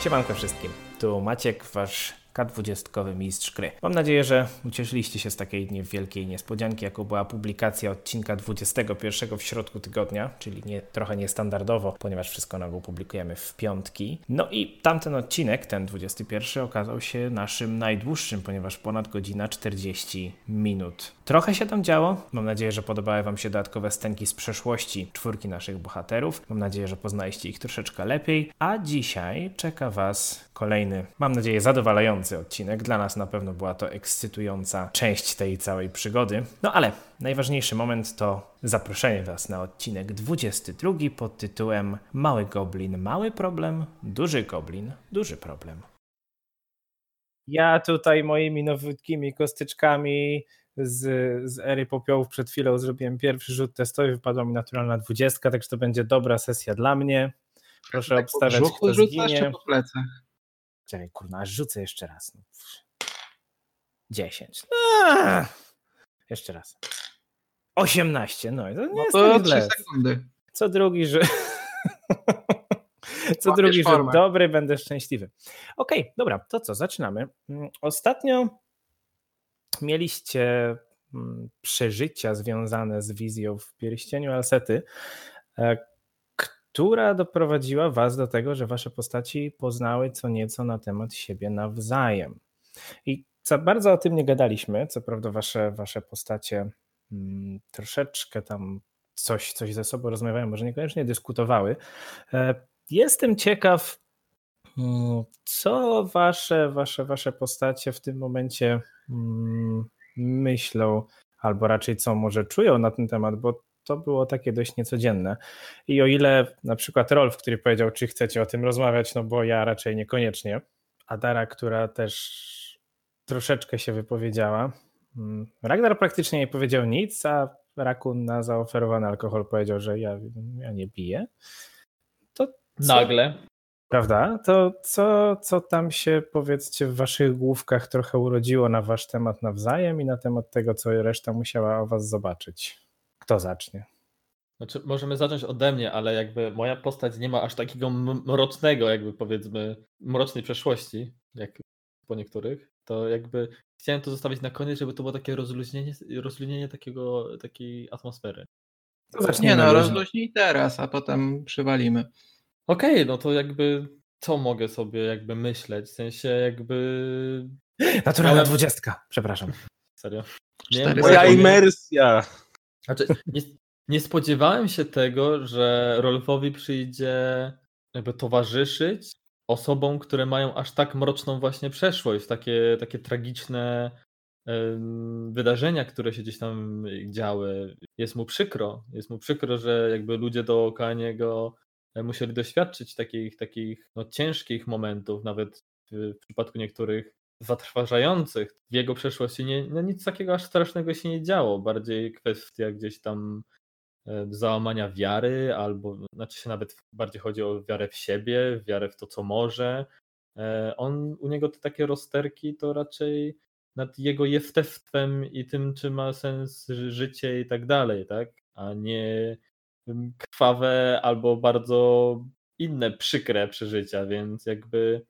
Siemanko wszystkim, tu Maciek, wasz K20 mistrz gry. Mam nadzieję, że ucieszyliście się z takiej nie- wielkiej niespodzianki, jaką była publikacja odcinka 21 w środku tygodnia, czyli nie, trochę niestandardowo, ponieważ wszystko na ogół publikujemy w piątki. No i tamten odcinek, ten 21, okazał się naszym najdłuższym, ponieważ ponad godzina 40 minut. Trochę się tam działo. Mam nadzieję, że podobały Wam się dodatkowe scenki z przeszłości czwórki naszych bohaterów. Mam nadzieję, że poznaliście ich troszeczkę lepiej. A dzisiaj czeka Was kolejny, mam nadzieję, zadowalający odcinek. Dla nas na pewno była to ekscytująca część tej całej przygody. No ale najważniejszy moment to zaproszenie Was na odcinek 22 pod tytułem Mały Goblin, mały problem, duży goblin, duży problem. Ja tutaj moimi nowytkimi kostyczkami z, z ery popiołów przed chwilą zrobiłem pierwszy rzut testowy, wypadła mi naturalna 20, także to będzie dobra sesja dla mnie. Proszę Tak po obstawiać, brzuchu kto rzucasz, zginie. czy po plecach? Czekaj, kurna, aż rzucę jeszcze raz. No. 10. Aaa! No. Jeszcze raz. 18, no i to nie No jest to tak 3 źle. sekundy. Co drugi, że. Co Łapiesz drugi, że formę. dobry, będę szczęśliwy. Okej, dobra, to co, zaczynamy. Mm, Ostatnio mieliście mm, przeżycia związane z wizją w pierścieniu Alsety, e, która doprowadziła was do tego, że wasze postaci poznały co nieco na temat siebie nawzajem. I za bardzo o tym nie gadaliśmy, co prawda wasze, wasze postacie mm, troszeczkę tam coś, coś ze sobą rozmawiają, może niekoniecznie dyskutowały. E, Jestem ciekaw, mm, co wasze, wasze, wasze postacie w tym momencie mm, myślą, albo raczej co może czują na ten temat, bo to było takie dość niecodzienne. I o ile na przykład Rolf, który powiedział, czy chcecie o tym rozmawiać, no bo ja raczej niekoniecznie, Adara, która też troszeczkę się wypowiedziała. mm, Ragnar praktycznie nie powiedział nic, a Rakun na zaoferowany alkohol powiedział, że ja, ja nie piję. To co- Nagle. Prawda? To co, co tam się powiedzcie w waszych główkach trochę urodziło na wasz temat nawzajem i na temat tego, co reszta musiała o was zobaczyć? Kto zacznie? Znaczy, możemy zacząć ode mnie, ale jakby moja postać nie ma aż takiego m- mrocznego, jakby powiedzmy, mrocznej przeszłości, jak po niektórych. To jakby chciałem to zostawić na koniec, żeby to było takie rozluźnienie, rozluźnienie takiego, takiej atmosfery. To zacznie Nie na no, luzie. rozluźnij teraz, a potem przywalimy. Okej, no to jakby co mogę sobie jakby myśleć, w sensie jakby... Naturalna Ale- dwudziestka, przepraszam. Serio. Cztery bo ja Moja sekundy. nie- imersja! Znaczy, nie, nie spodziewałem się tego, że Rolfowi przyjdzie jakby towarzyszyć osobom, które mają aż tak mroczną właśnie przeszłość, takie, takie tragiczne em, wydarzenia, które się gdzieś tam działy. Jest mu przykro, jest mu przykro, że jakby ludzie dookoła niego musieli doświadczyć takich, takich no, ciężkich momentów, nawet w, w przypadku niektórych zatrważających. W jego przeszłości nie, no nic takiego aż strasznego się nie działo. Bardziej kwestia gdzieś tam e, załamania wiary, albo znaczy się nawet bardziej chodzi o wiarę w siebie, wiarę w to, co może. E, On, u niego te takie rozterki to raczej nad jego jestestwem i tym, czy ma sens ży- życie i tak dalej, tak? A nie mm, krwawe albo bardzo inne przykre przeżycia, więc jakby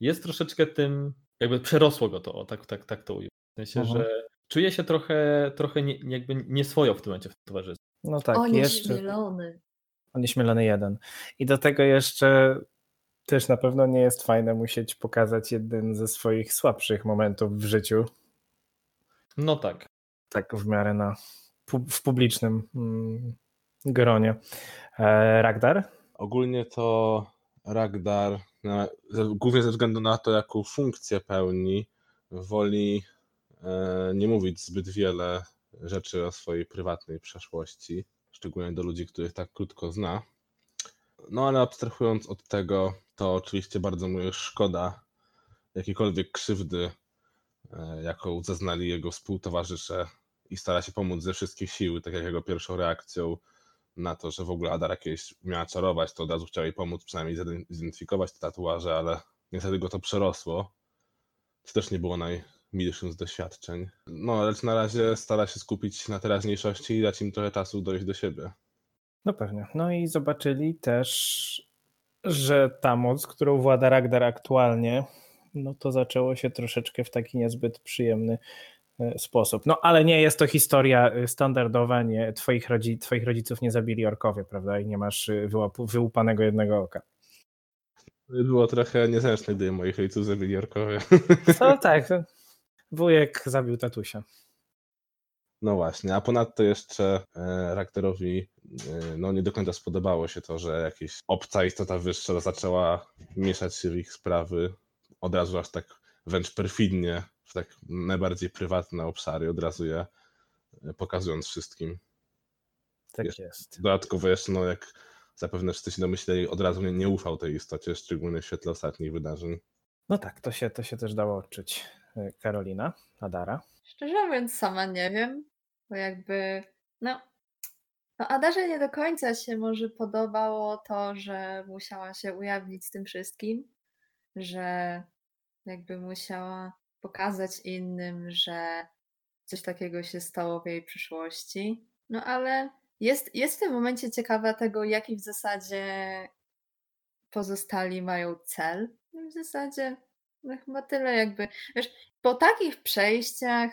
jest troszeczkę tym, jakby przerosło go to, o, tak, tak, tak to ujął. W sensie, Mhm. że czuje się trochę, trochę nie, jakby nieswojo w tym momencie w towarzystwie. No tak, o, jeszcze. nieśmielony. Onieśmielony jeden. I do tego jeszcze też na pewno nie jest fajne musieć pokazać jeden ze swoich słabszych momentów w życiu, No tak. tak w miarę na, pu- w publicznym mm, gronie. E, Ragdar? Ogólnie to Ragdar, na- ze- głównie ze względu na to, jaką funkcję pełni, woli e, nie mówić zbyt wiele rzeczy o swojej prywatnej przeszłości, szczególnie do ludzi, których tak krótko zna. No ale abstrahując od tego, to oczywiście bardzo mu jest szkoda jakiejkolwiek krzywdy, e, jaką zeznali jego współtowarzysze i stara się pomóc ze wszystkich sił, tak jak jego pierwszą reakcją na to, że w ogóle Adara kiedyś miała czarować, to od razu chciała jej pomóc przynajmniej ziden- zidentyfikować te tatuaże, ale niestety go to przerosło. To też nie było najmilszym z doświadczeń. No, lecz na razie stara się skupić na teraźniejszości i dać im trochę czasu dojść do siebie. No pewnie. No i zobaczyli też że ta moc, którą włada Ragdar aktualnie, no to zaczęło się troszeczkę w taki niezbyt przyjemny e, sposób. No ale nie jest to historia e, standardowa, nie, twoich, rodzi, twoich rodziców nie zabili orkowie, prawda? I nie masz e, wyłapu, wyłupanego jednego oka. Było trochę niezręczne, gdy moich rodziców zabili orkowie. No tak, wujek zabił tatusia. No właśnie, a ponadto jeszcze e, Rakterowi e, no, nie do końca spodobało się to, że jakaś obca istota wyższa zaczęła mieszać się w ich sprawy od razu aż tak wręcz perfidnie, w tak najbardziej prywatne obszary, od razu je e, pokazując wszystkim. Tak jest. Dodatkowo jeszcze, no jak zapewne wszyscy się domyśleli, od razu nie, nie ufał tej istocie, szczególnie w świetle ostatnich wydarzeń. No tak, to się, to się też dało odczuć. E, Karolina, Adara. Szczerze mówiąc, sama nie wiem, bo jakby, no, no Adarze nie do końca się może podobało to, że musiała się ujawnić z tym wszystkim, że jakby musiała pokazać innym, że coś takiego się stało w jej przyszłości. No ale jest, jest w tym momencie ciekawa tego, jaki w zasadzie pozostali mają cel. No W zasadzie no chyba tyle jakby po takich przejściach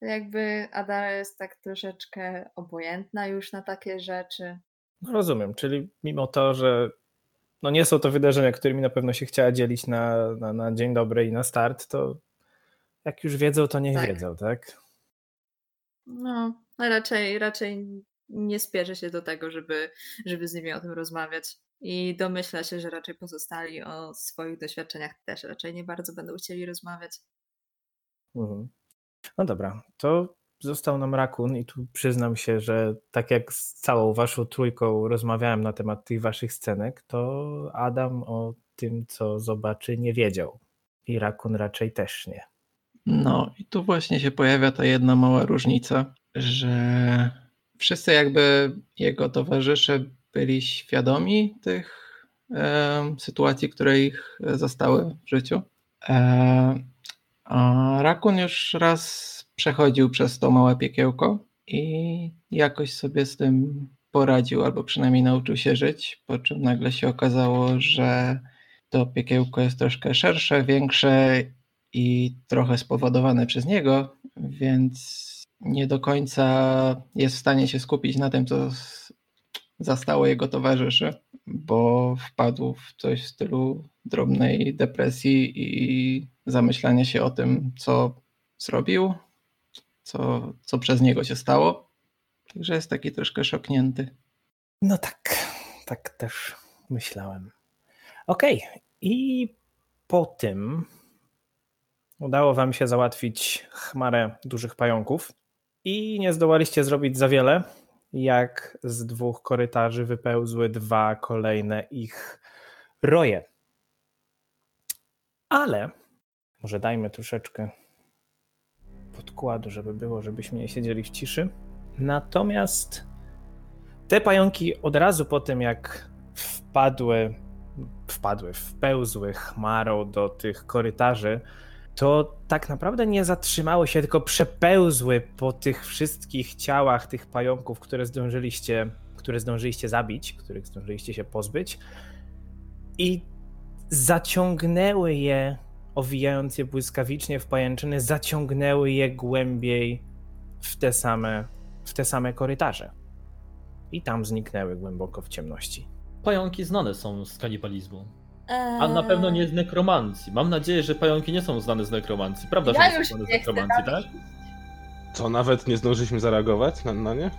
jakby Adara jest tak troszeczkę obojętna już na takie rzeczy. No rozumiem, czyli mimo to, że no nie są to wydarzenia, którymi na pewno się chciała dzielić na, na, na dzień dobry i na start, to jak już wiedzą, to niech Tak. wiedzą, tak? No, a raczej, raczej nie spieszę się do tego, żeby, żeby z nimi o tym rozmawiać. I domyśla się, że raczej pozostali o swoich doświadczeniach też raczej nie bardzo będą chcieli rozmawiać. Mhm. No dobra, to został nam rakun i tu przyznam się, że tak jak z całą waszą trójką rozmawiałem na temat tych waszych scenek, to Adam o tym, co zobaczy, nie wiedział. I rakun raczej też nie. No i tu właśnie się pojawia ta jedna mała różnica, że wszyscy jakby jego towarzysze byli świadomi tych em, sytuacji, które ich e, zastały w życiu. E, a Rakun już raz przechodził przez to małe piekiełko i jakoś sobie z tym poradził, albo przynajmniej nauczył się żyć, po czym nagle się okazało, że to piekiełko jest troszkę szersze, większe i trochę spowodowane przez niego, więc nie do końca jest w stanie się skupić na tym, co s- zastało jego towarzyszy, bo wpadł w coś w stylu drobnej depresji i zamyślania się o tym, co zrobił, co, co przez niego się stało. Także jest taki troszkę szoknięty. No tak, tak też myślałem. Okej, i po tym udało wam się załatwić chmarę dużych pająków i nie zdołaliście zrobić za wiele, jak z dwóch korytarzy wypełzły dwa kolejne ich roje. Ale może dajmy troszeczkę podkładu, żeby było, żebyśmy nie siedzieli w ciszy. Natomiast te pająki od razu po tym, jak wpadły, wpadły, wpełzły chmarą do tych korytarzy, to tak naprawdę nie zatrzymały się, tylko przepełzły po tych wszystkich ciałach tych pająków, które zdążyliście, które zdążyliście zabić, których zdążyliście się pozbyć i zaciągnęły je, owijając je błyskawicznie w pajęczyny, zaciągnęły je głębiej w te same, w te same korytarze i tam zniknęły głęboko w ciemności. Pająki znane są z kanibalizmu. A na pewno nie z nekromancji. Mam nadzieję, że pająki nie są znane z nekromancji. Prawda, że Ja nie już są znane z nie chcę nekromancji, tam tak? iść. To nawet nie zdążyliśmy zareagować na, na nie?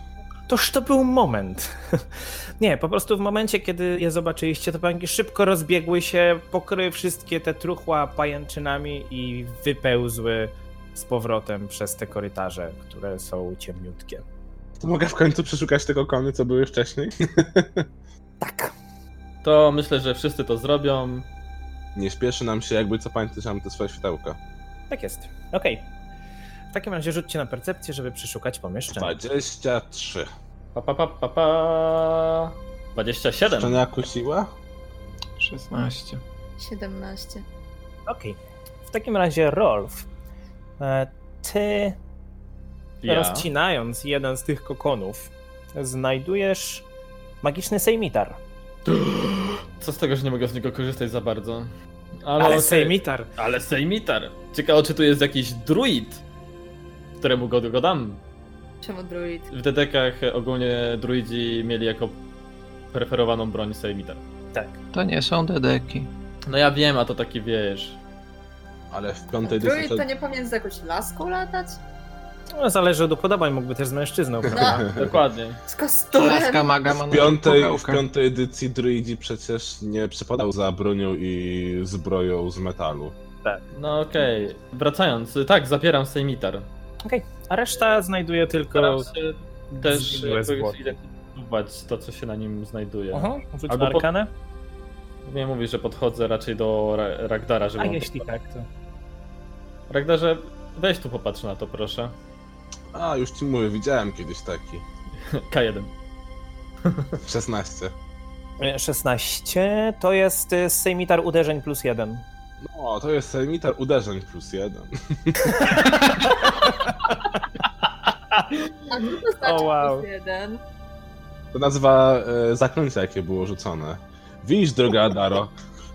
Toż to był moment. Nie, po prostu w momencie, kiedy je zobaczyliście, to pająki szybko rozbiegły się, pokryły wszystkie te truchła pajęczynami i wypełzły z powrotem przez te korytarze, które są ciemniutkie. To mogę w końcu przeszukać tego kony, co były wcześniej? Tak. To myślę, że wszyscy to zrobią. Nie spieszy nam się, jakby co pamiętaj, że mam te swoje światełka. Tak jest. Okej. W takim razie rzućcie na percepcję, żeby przeszukać pomieszczenie. 23. Pa, pa, pa, pa, pa. 27. Szczenia kusiła? 16. 17. Okej. W takim razie Rolf, e, ty Ja. Rozcinając jeden z tych kokonów, znajdujesz magiczny sejmitar. Co z tego, że nie mogę z niego korzystać za bardzo? Ale okej. sejmitar. Ale sejmitar. Ciekawe, czy tu jest jakiś druid, któremu go, go dam. Czemu druid? W dedekach ogólnie druidzi mieli jako preferowaną broń sejmitar. Tak. To nie są dedeki. No ja wiem, a to taki wiesz. Ale w piątej Druid edycji... to nie powinien z jakąś laską latać? No, zależy od upodobań, mógłby też z mężczyzną, prawda? No. Dokładnie. Z kosturem? Laska maga ma W na piątej, w pukałka. piątej edycji druidzi przecież nie przepadał za bronią i zbroją z metalu. No okej. Wracając, tak, zapieram sejmitar. A reszta znajduje tylko... Staram się też zgniłe jakby zwłoki. zidentyfikować to, co się na nim znajduje. Aha, rzuć Albo na po- arkanę. Nie mówisz, że podchodzę raczej do Ra- Ragdara, żeby A on jeśli tak, to... Ragdarze, weź tu popatrz na to, proszę. A, już ci mówię, widziałem kiedyś taki. K1. 16. E, 16 to jest e, sejmitar uderzeń plus jeden. No, to jest sejmitar uderzeń plus jeden. A co to znaczy wow. plus jeden? To nazwa e, zaklęcia, jakie było rzucone. Widzisz, droga Adaro,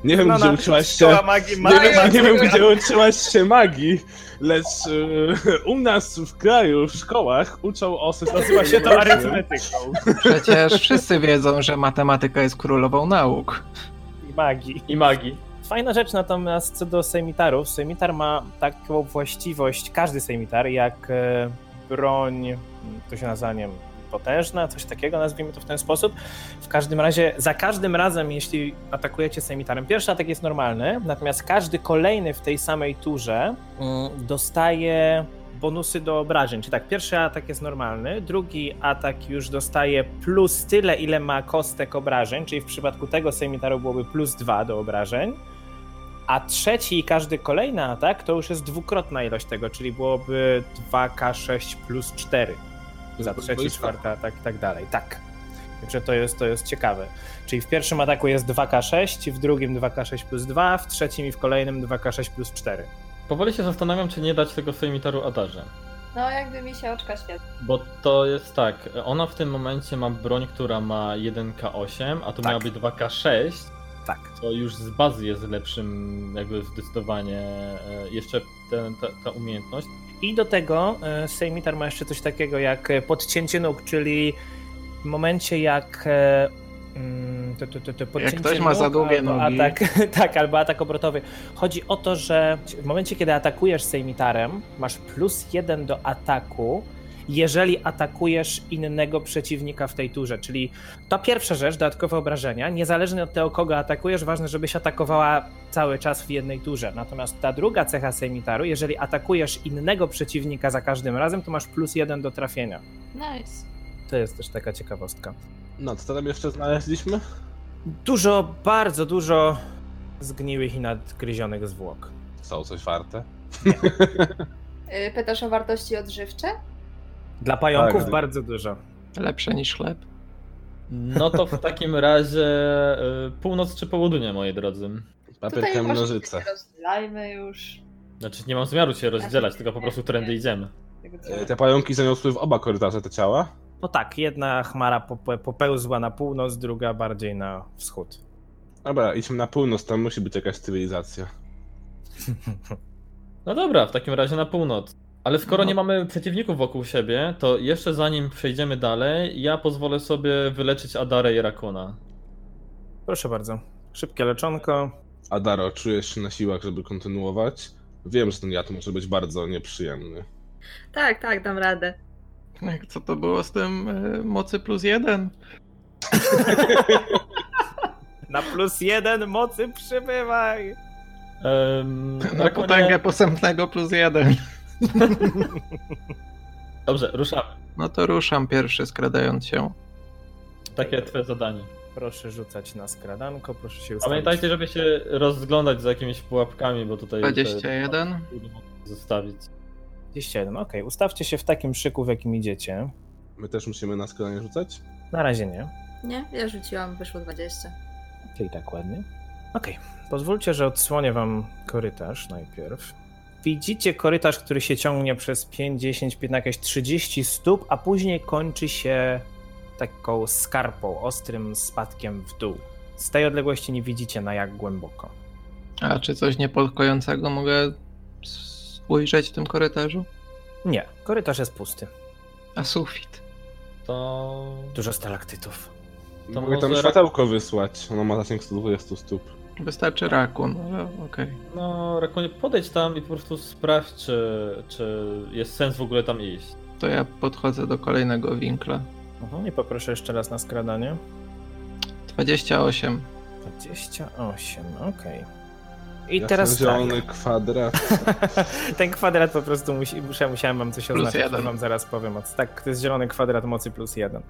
nie wiem, No, gdzie no, uczyłaś się... Siła magii ma... Nie wiem, Magia, nie wiem droga. gdzie uczyłaś się magii, lecz e, u nas w kraju, w szkołach, uczą o systemie... Nazywa się to numerycznym. arytmetyką Przecież wszyscy wiedzą, że matematyka jest królową nauk. i magii. I magii. Fajna rzecz natomiast co do sejmitarów. Sejmitar ma taką właściwość, każdy sejmitar, jak e, broń, to się nazywa, nie wiem, potężna, coś takiego, nazwijmy to w ten sposób. W każdym razie, za każdym razem, jeśli atakujecie sejmitarem, pierwszy atak jest normalny, natomiast każdy kolejny w tej samej turze mm, dostaje bonusy do obrażeń. Czyli tak, pierwszy atak jest normalny, drugi atak już dostaje plus tyle, ile ma kostek obrażeń, czyli w przypadku tego semitaru byłoby plus dwa do obrażeń. A trzeci i każdy kolejny atak to już jest dwukrotna ilość tego, czyli byłoby 2K6 plus 4 za trzeci, czwarty atak i tak dalej. Tak. Także to jest, to jest ciekawe. Czyli w pierwszym ataku jest 2K6, w drugim 2K6 plus 2, w trzecim i w kolejnym 2K6 plus 4. Powoli się zastanawiam, czy nie dać tego sejmitaru Adarze. No jakby mi się oczka świetnie. Bo to jest tak, ona w tym momencie ma broń, która ma 1K8, a tu Tak. miała być 2K6, Tak. co już z bazy jest lepszym jakby zdecydowanie e, jeszcze ten, ta, ta umiejętność. I do tego e, Sejmitar ma jeszcze coś takiego jak e, podcięcie nóg, czyli w momencie jak e, mm, to, to, to, to podcięcie ktoś ma za nóg długie albo nogi. Atak, tak, albo atak obrotowy. Chodzi o to, że w momencie, kiedy atakujesz Sejmitarem, masz plus jeden do ataku, jeżeli atakujesz innego przeciwnika w tej turze. Czyli ta pierwsza rzecz, dodatkowe obrażenia, niezależnie od tego, kogo atakujesz, ważne, żebyś atakowała cały czas w jednej turze. Natomiast ta druga cecha Sejmitaru, jeżeli atakujesz innego przeciwnika za każdym razem, to masz plus jeden do trafienia. Nice. To jest też taka ciekawostka. No, co tam jeszcze znaleźliśmy? Dużo, bardzo dużo zgniłych i nadgryzionych zwłok. Są coś warte? Y, Pytasz o wartości odżywcze? Dla pająków Tak. bardzo dużo. Lepsze niż chleb. No to w takim razie e, północ czy południe, moi drodzy. Papier, Tutaj kamień, może nożyce. się Rozdzielajmy już. Znaczy nie mam zamiaru się rozdzielać, tylko po prostu którędy idziemy. Tego E, trzeba. Te pająki zaniosły w oba korytarze te ciała. No tak, jedna chmara pope- popełzła na północ, druga bardziej na wschód. Dobra, idźmy na północ, tam musi być jakaś cywilizacja. No dobra, w takim razie na północ. Ale skoro nie mamy przeciwników wokół siebie, to jeszcze zanim przejdziemy dalej, ja pozwolę sobie wyleczyć Adarę i Rakuna. Proszę bardzo. Szybkie leczonko. Adaro, czujesz się na siłach, żeby kontynuować? Wiem, że ten jad może być bardzo nieprzyjemny. Tak, tak, dam radę. Jak Co to było z tym e, mocy plus jeden? Na plus jeden mocy przybywaj! Ehm, Na potęgę posępnego plus jeden. Dobrze, ruszamy. No to ruszam pierwszy, skradając się. Takie twoje zadanie. Proszę rzucać na skradanko, proszę się ustawić. Pamiętajcie, żeby się rozglądać za jakimiś pułapkami, bo tutaj... 21. te- Zostawić. 21, okej. Ustawcie się w takim szyku, w jakim idziecie. My też musimy na skalanie rzucać? Na razie nie. Nie, ja rzuciłam, wyszło 20. Czyli tak ładnie. Okej, pozwólcie, że odsłonię wam korytarz najpierw. Widzicie korytarz, który się ciągnie przez 5, 10, 15, jakieś 30 stóp, a później kończy się taką skarpą, ostrym spadkiem w dół. Z tej odległości nie widzicie na jak głęboko. A czy coś niepokojącego mogę s- ujrzeć w tym korytarzu? Nie, korytarz jest pusty. A sufit. To. Dużo stalaktytów. To To Mogę tam może- światełko wysłać. Ono ma zasięg 120 stóp. Wystarczy rakun, ale okej. No, Rakonie, podejdź tam i po prostu sprawdź, czy, czy jest sens w ogóle tam iść. To ja podchodzę do kolejnego winkla. Mhm, I poproszę jeszcze raz na skradanie. 28. 28, okej. I Ja teraz ten tak. zielony kwadrat. Ten kwadrat po prostu musi, muszę, musiałem wam coś Plus oznaczyć, jeden. wam zaraz powiem. Od, tak, to jest zielony kwadrat mocy plus jeden.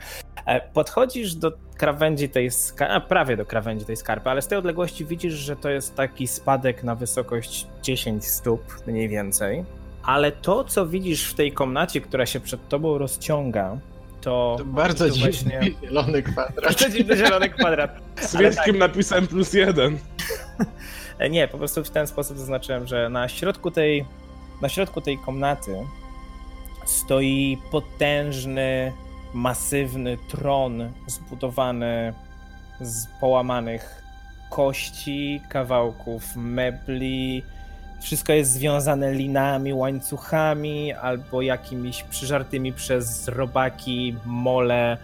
E, Podchodzisz do krawędzi tej skarpy, prawie do krawędzi tej skarpy, ale z tej odległości widzisz, że to jest taki spadek na wysokość 10 stóp mniej więcej. Ale to, co widzisz w tej komnacie, która się przed tobą rozciąga, to... To bardzo to dziwny właśnie- zielony kwadrat. To dziwny zielony kwadrat. Z Ale wielkim napisem plus jeden. E, Nie, po prostu w ten sposób zaznaczyłem, że na środku tej, na środku tej komnaty stoi potężny, masywny tron zbudowany z połamanych kości, kawałków mebli. Wszystko jest związane linami, łańcuchami albo jakimiś przyżartymi przez robaki, mole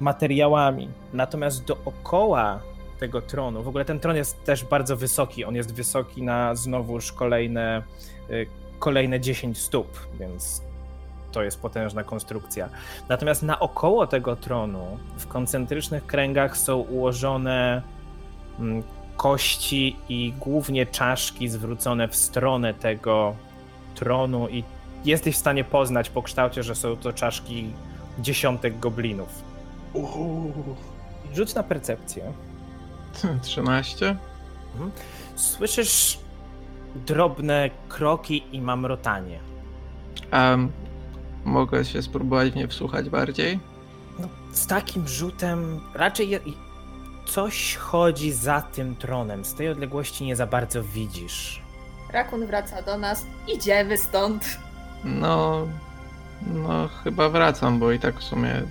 materiałami. Natomiast dookoła tego tronu. W ogóle ten tron jest też bardzo wysoki. On jest wysoki na znowuż kolejne, y, kolejne 10 stóp, więc to jest potężna konstrukcja. Natomiast naokoło tego tronu w koncentrycznych kręgach są ułożone mm, kości i głównie czaszki zwrócone w stronę tego tronu i jesteś w stanie poznać po kształcie, że są to czaszki dziesiątek goblinów. Uuu. Rzuć na percepcję. 13. Słyszysz drobne kroki i mamrotanie. A mogę się spróbować w nie wsłuchać bardziej? No, z takim rzutem raczej je- coś chodzi za tym tronem. Z tej odległości nie za bardzo widzisz. Rakun wraca do nas. Idziemy stąd. No, no chyba wracam, bo i tak w sumie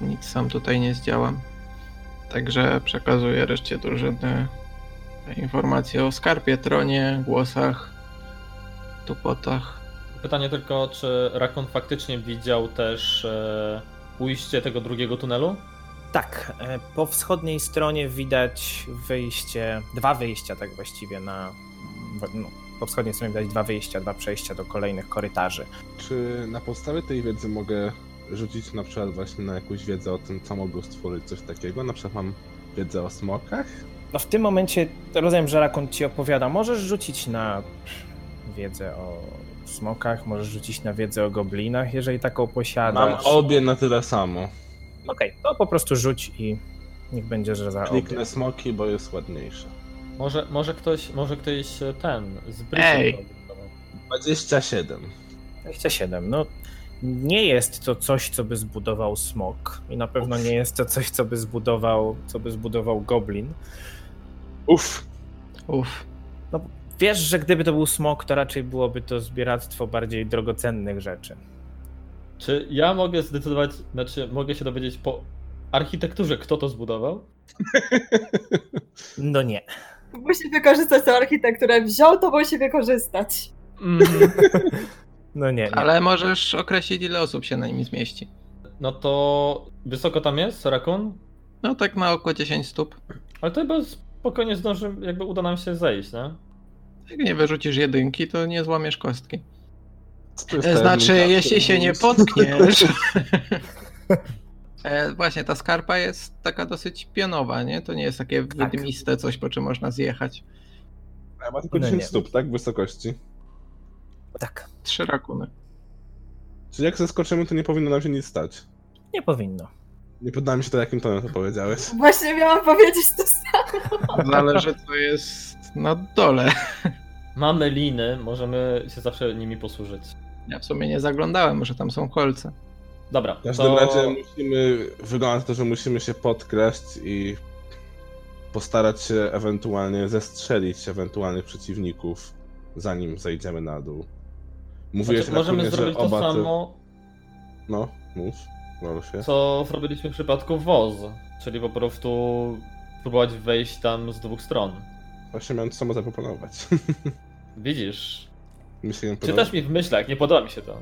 nic sam tutaj nie zdziałam. Także przekazuję reszcie drużyny informacje o skarpie, tronie, głosach, tupotach. Pytanie tylko, czy Rakon faktycznie widział też e, ujście tego drugiego tunelu? Tak, e, po wschodniej stronie widać wyjście, dwa wyjścia tak właściwie na... w- No, po wschodniej stronie widać dwa wyjścia, dwa przejścia do kolejnych korytarzy. Czy na podstawie tej wiedzy mogę rzucić na przykład właśnie na jakąś wiedzę o tym, co mogą stworzyć coś takiego? Na przykład mam wiedzę o smokach? No w tym momencie rozumiem, że Rakon ci opowiada. Możesz rzucić na wiedzę o smokach, możesz rzucić na wiedzę o goblinach, jeżeli taką posiadasz. Mam obie na tyle samo. Okej, to po prostu rzuć i niech będzie, że za obie. Kliknę smoki, bo jest ładniejsze. Może, może ktoś, może ktoś e, ten z Ej! Brytanii. 27. 27. No nie jest to coś, co by zbudował smok i na pewno nie jest to coś, co by zbudował, co by zbudował goblin. Uff! Uff, Wiesz, że gdyby to był smok, to raczej byłoby to zbieractwo bardziej drogocennych rzeczy. Czy ja mogę zdecydować, znaczy mogę się dowiedzieć po architekturze, kto to zbudował? No nie. Musi wykorzystać tę architekturę. Wziął to, musi wykorzystać. No nie, nie. ale możesz określić ile osób się na nim zmieści. No to wysoko tam jest, Rakon? No tak na oko 10 stóp. Ale to chyba spokojnie zdążymy, jakby uda nam się zejść, nie? Jak nie wyrzucisz jedynki, to nie złamiesz kostki. Co to jest E, ta Znaczy, jedynka? jeśli się nie Jest- potkniesz. E, Właśnie, ta skarpa jest taka dosyć pionowa, nie? To nie jest takie Tak. wydmiste coś, po czym można zjechać. A ma tylko No 10 nie. stóp, tak? Wysokości. Tak, Trzy rakuny. Czyli jak zeskoczymy, to nie powinno nam się nic stać. nie powinno. Nie poddałem się to, jakim tonem to powiedziałeś. Właśnie miałam powiedzieć to samo. Zależy, co jest na dole. Mamy liny, możemy się zawsze nimi posłużyć. Ja w sumie nie zaglądałem, że tam są kolce. Dobra, W każdym to... razie musimy, wygląda na to, że musimy się podkraść i postarać się ewentualnie zestrzelić ewentualnych przeciwników, zanim zejdziemy na dół. Mówiłeś Znaczy, możemy Rakunie, zrobić że to oba te- samo, No, mów, Rolfie. co zrobiliśmy w przypadku WOZ. Czyli po prostu spróbować wejść tam z dwóch stron. Właśnie miałem samo zaproponować. Widzisz? Mi się nie podoba. Czytasz mi w myślach, nie podoba mi się to.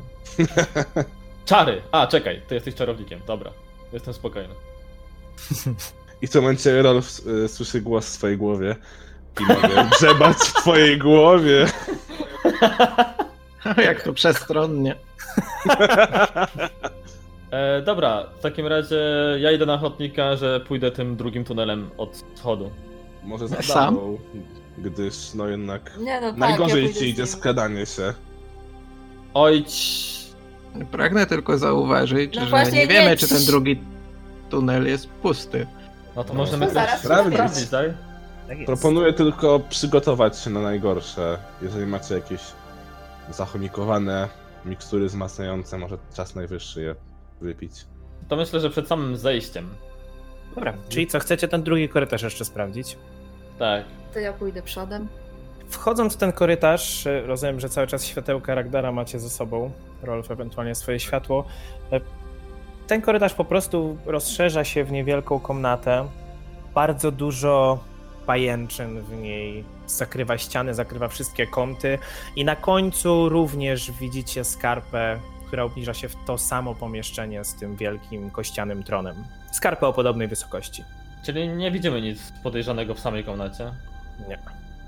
Czary! A, czekaj, ty jesteś czarownikiem, dobra. Jestem spokojny. I w tym momencie Rolf y, słyszy głos w swojej głowie. I mogę grzebać w twojej głowie. Jak to przestronnie. E, dobra, w takim razie ja idę na ochotnika, że pójdę tym drugim tunelem od schodu. Może za Sam? tobą, gdyż no jednak Nie no, tak, ja najgorzej pójdę ci z idzie nim. skradanie się. Ojcz! Pragnę tylko zauważyć, No że właśnie nie nie, wiemy, czy przecież- ten drugi tunel jest pusty. No to No, możemy to zaraz sprawdzić, sprawdzić. sprawdzić, tak? Tak jest. Proponuję tylko przygotować się na najgorsze. Jeżeli macie jakieś zachomikowane mikstury wzmacniające, może czas najwyższy je wypić. To myślę, że przed samym zejściem. Dobra, czyli co, chcecie ten drugi korytarz jeszcze sprawdzić? Tak. To ja pójdę przodem. Wchodząc w ten korytarz, e, rozumiem, że cały czas światełka Ragdara macie ze sobą, Rolf ewentualnie swoje światło. E, Ten korytarz po prostu rozszerza się w niewielką komnatę. Bardzo dużo pajęczyn w niej zakrywa ściany, zakrywa wszystkie kąty i na końcu również widzicie skarpę, która obniża się w to samo pomieszczenie z tym wielkim kościanym tronem. Skarpę o podobnej wysokości. Czyli nie widzimy nic podejrzanego w samej komnacie. Nie.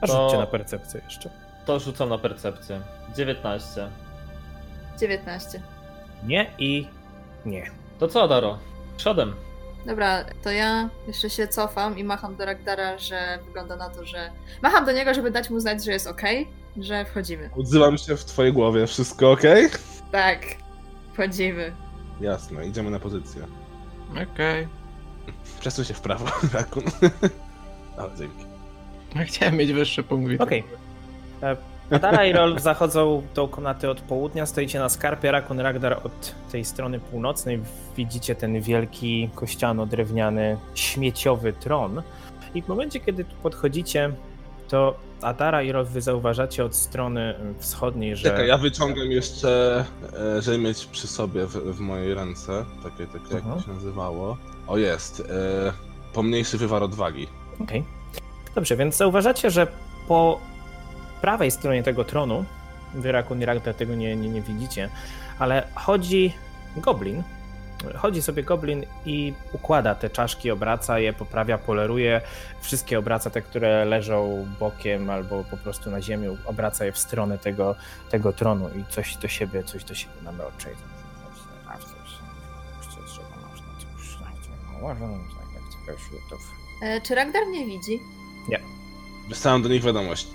A rzućcie To- na percepcję jeszcze. To rzucam na percepcję. 19. 19. Nie i nie. To co, Daro? Przodem. Dobra, to ja jeszcze się cofam i macham do Ragdara, że wygląda na to, że. Macham do niego, żeby dać mu znać, że jest okej, że wchodzimy. Odzywam się w twojej głowie, wszystko ok? Tak, wchodzimy. Jasne, idziemy na pozycję. Okej. Przesuń się w prawo, Rakun. Ale dzięki. No, Chciałem mieć wyższy punkt widzenia. Okej. Okay. Tara i Rolf zachodzą do komnaty od południa, stoicie na skarpie, Rakun Ragdar od tej strony północnej. Widzicie ten wielki kościano-drewniany, śmieciowy tron. I w momencie, kiedy tu podchodzicie, to Atara i Rolf wy zauważacie od strony wschodniej, że... Czekaj, ja wyciągam jeszcze, e, żeby mieć przy sobie w, w mojej ręce, takie, takie jak Mhm. to się nazywało. O jest, e, pomniejszy wywar odwagi. Okej. Dobrze, więc zauważacie, że po prawej stronie tego tronu, wy Rakun i Ragdar tego nie, nie, nie widzicie, ale chodzi goblin. Chodzi sobie goblin i układa te czaszki, obraca je, poprawia, poleruje. Wszystkie obraca te, które leżą bokiem albo po prostu na ziemi, obraca je w stronę tego, tego tronu i coś do siebie, coś do siebie namroczy. E, czy Ragdar mnie widzi? Wysłałem do nich wiadomość.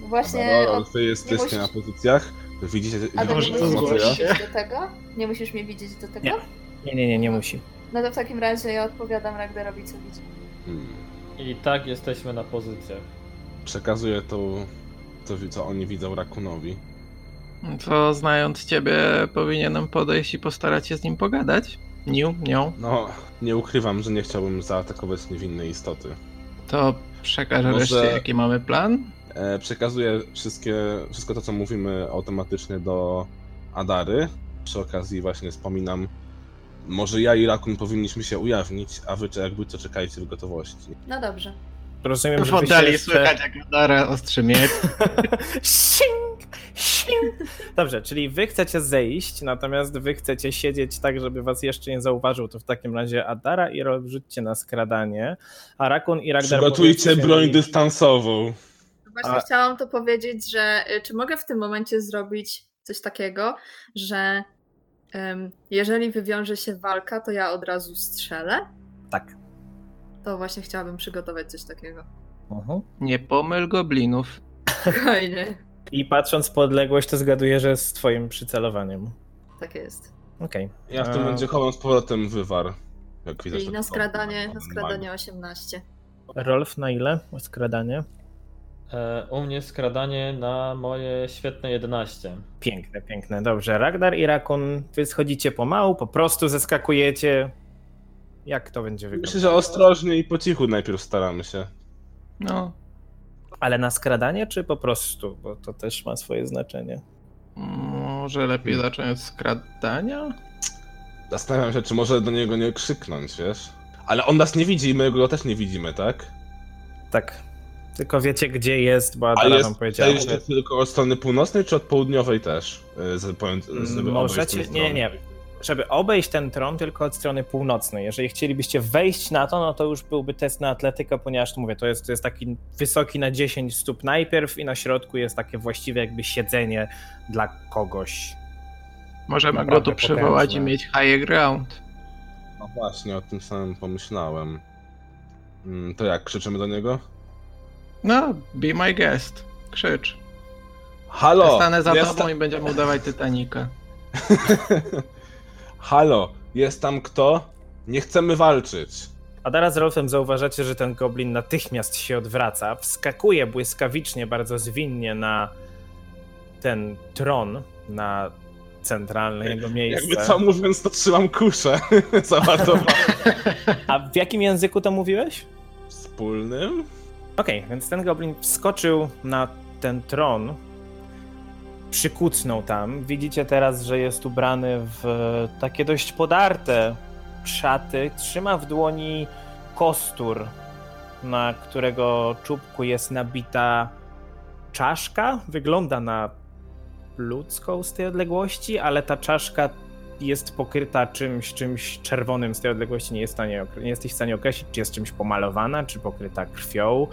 Właśnie. Dobra, od... No, wy jesteście musisz- na pozycjach, wy widzicie, A to Może nie musisz to mnie zgłoszę. informację. widzieć do tego? Nie musisz mnie widzieć do tego? Nie. Nie, nie, nie, nie musi. No to w takim razie ja odpowiadam Ragdarowi, co widzi. Hmm. I tak jesteśmy na pozycjach. Przekazuję to, to, co oni widzą Rakunowi. Co znając ciebie, powinienem podejść i postarać się z nim pogadać. Niu, nią. No, nie ukrywam, że nie chciałbym zaatakować niewinnej istoty. To przekażę Może- reszcie, jaki mamy plan. E, przekazuję wszystkie, wszystko to, co mówimy automatycznie do Adary. Przy okazji właśnie wspominam, może ja i Rakun powinniśmy się ujawnić, a wy czy- jakby co czekajcie w gotowości. No dobrze. Rozumiem, W że wy się oddali jeszcze- słychać, jak Dara ostrzy miecz. Sing! Sing! Dobrze, czyli wy chcecie zejść, natomiast wy chcecie siedzieć tak, żeby was jeszcze nie zauważył. To w takim razie Adara i Rolf rzućcie na skradanie, a Rakun i Ragnar... Przygotujcie powiedzcie broń mi- dystansową. Właśnie A- chciałam to powiedzieć, że y, czy mogę w tym momencie zrobić coś takiego, że em, jeżeli wywiąże się walka, to ja od razu strzelę? Tak. To właśnie chciałabym przygotować coś takiego. Mhm. Nie pomyl goblinów. Spokojnie. I patrząc po odległość, to zgaduję, że z twoim przycelowaniem. Tak jest. Okej. Ja w tym Eee. momencie chowam z powrotem wywar. Jak widać, tak Czyli to- na skradanie, na skradanie 18. Rolf, na ile skradanie? E, u mnie skradanie na moje świetne 11. Piękne, piękne. Dobrze, Ragnar i Rakun, wy schodzicie pomału, po prostu zeskakujecie. Jak to będzie wyglądać? Myślę, że ostrożnie i po cichu najpierw staramy się. No. Ale na skradanie, czy po prostu? Bo to też ma swoje znaczenie. Może lepiej zacząć od skradania? Zastanawiam się, czy może do niego nie krzyknąć, wiesz? Ale on nas nie widzi i my go też nie widzimy, tak? Tak. Tylko wiecie, gdzie jest, bo Ale Adara jest wam powiedziała. tutaj że- tylko od strony północnej czy od południowej też? Y, Z, powiem, żeby Możecie- obejść tą nie, stronę. nie. Żeby obejść ten tron, tylko od strony północnej. Jeżeli chcielibyście wejść na to, no to już byłby test na atletykę, ponieważ mówię, to jest, to jest taki wysoki na 10 stóp najpierw i na środku jest takie właściwie jakby siedzenie dla kogoś. Możemy go Naprawdę tu przywołać i potężne. mieć high ground. No właśnie, o tym samym pomyślałem. Mm, To jak, krzyczymy do niego? No, be my guest. Krzycz. Halo! Stanę za jest tobą i będziemy udawać Titanica. ta- Halo, jest tam kto? Nie chcemy walczyć. A teraz z Rolfem zauważacie, że ten goblin natychmiast się odwraca, wskakuje błyskawicznie, bardzo zwinnie na ten tron, na centralne jego miejsce. Jakby co mówiąc, to trzymam kuszę załadowaną A w jakim języku to mówiłeś? wspólnym. Okej, więc ten goblin wskoczył na ten tron, przykucnął tam. Widzicie teraz, że jest ubrany w e, takie dość podarte szaty. Trzyma w dłoni kostur, na którego czubku jest nabita czaszka. Wygląda na ludzką z tej odległości, ale ta czaszka jest pokryta czymś, czymś czerwonym z tej odległości. Nie, jest w stanie, okre- nie jesteś w stanie określić, czy jest czymś pomalowana, czy pokryta krwią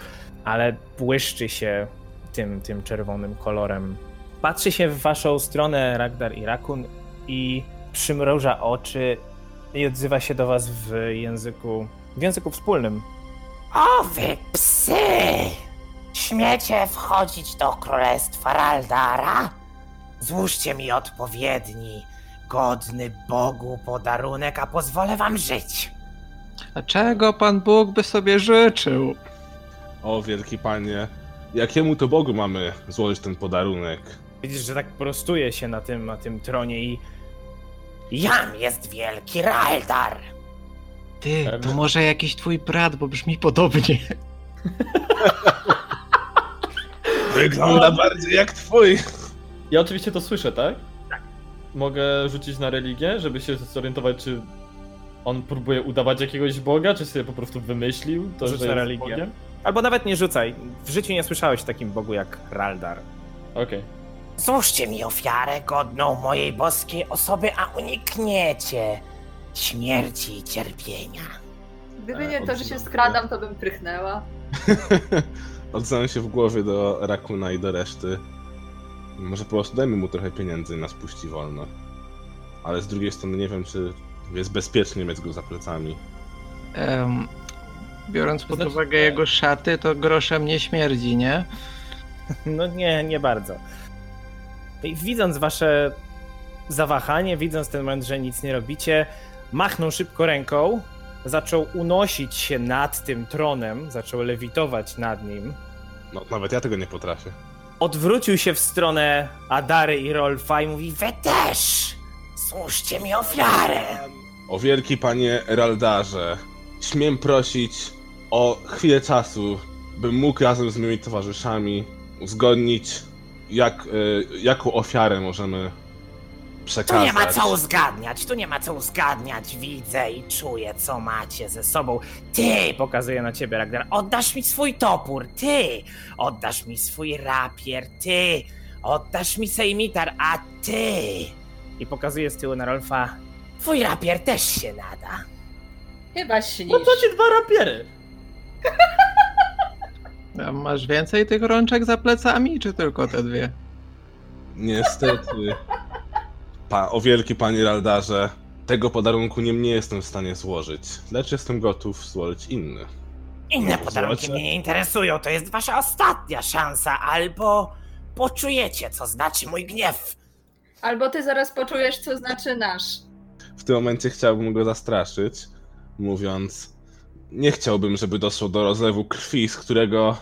ale błyszczy się tym, tym czerwonym kolorem. Patrzy się w waszą stronę Ragdar i Rakun i przymroża oczy i odzywa się do was w języku, w języku wspólnym. O wy psy! Śmiecie wchodzić do królestwa Raldara? Złóżcie mi odpowiedni, godny Bogu podarunek, a pozwolę wam żyć. A czego Pan Bóg by sobie życzył? O, wielki panie, jakiemu to Bogu mamy złożyć ten podarunek? Widzisz, że tak prostuje się na tym, na tym tronie i Jam jest wielki Raldar. Ty, Em. to może jakiś twój brat, bo brzmi podobnie. Wygląda bardziej jak twój. Ja oczywiście to słyszę, tak? Mogę rzucić na religię, żeby się zorientować, czy on próbuje udawać jakiegoś boga, czy sobie po prostu wymyślił to, Rzuć że na jest religię. bogiem? albo nawet nie rzucaj. W życiu nie słyszałeś o takim bogu jak Raldar. Okej. Złóżcie mi ofiarę godną mojej boskiej osoby, a unikniecie śmierci i cierpienia. Gdyby E, nie to, że się odsunąłem. skradam, to bym prychnęła. Odzywam się w głowie do Rakuna i do reszty. Może po prostu dajmy mu trochę pieniędzy i nas puści wolno. Ale z drugiej strony nie wiem, czy jest bezpiecznie mieć go za plecami. Em, biorąc pod Znaczy, uwagę e. jego szaty, to groszem nie śmierdzi, nie? No nie, nie bardzo. I widząc wasze zawahanie, widząc ten moment, że nic nie robicie, machnął szybko ręką, zaczął unosić się nad tym tronem, zaczął lewitować nad nim. No, nawet ja tego nie potrafię. Odwrócił się w stronę Adary i Rolfa i mówi: Wy też! Złóżcie mi ofiarę! O wielki panie Raldarze, śmiem prosić o chwilę czasu, bym mógł razem z moimi towarzyszami uzgodnić, jak, y, jaką ofiarę możemy Tu przekazać. nie ma co uzgadniać, tu nie ma co uzgadniać. Widzę i czuję, co macie ze sobą. Ty, Pokazuje na ciebie, Ragnar. oddasz mi swój topór, ty, oddasz mi swój rapier, ty, oddasz mi sejmitar, a ty, I pokazuje z tyłu na Rolfa. twój rapier też się nada. Chyba śnisz. Po co No ci dwa rapiery? A masz więcej tych rączek za plecami, czy tylko te dwie? Niestety. Pa, o wielki panie Raldarze, tego podarunku nie, nie jestem w stanie złożyć, lecz jestem gotów złożyć inny. Inne podarunki Zobaczę. mnie nie interesują, to jest wasza ostatnia szansa, albo poczujecie, co znaczy mój gniew. Albo ty zaraz poczujesz, co znaczy nasz. W tym momencie chciałbym go zastraszyć, mówiąc: Nie chciałbym, żeby doszło do rozlewu krwi, z którego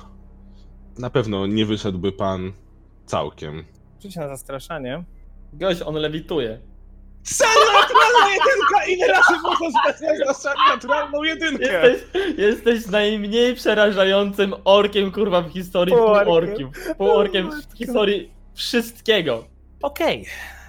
na pewno nie wyszedłby pan całkiem. Rzuć na zastraszanie. Gość, on lewituje. Naturalna jedynka! Ile razy można zbezpieczać naturalną jedynkę? Jesteś, jesteś najmniej przerażającym orkiem, kurwa, w historii Półorkiem. półorkiem. Półorkiem w historii wszystkiego. Okej,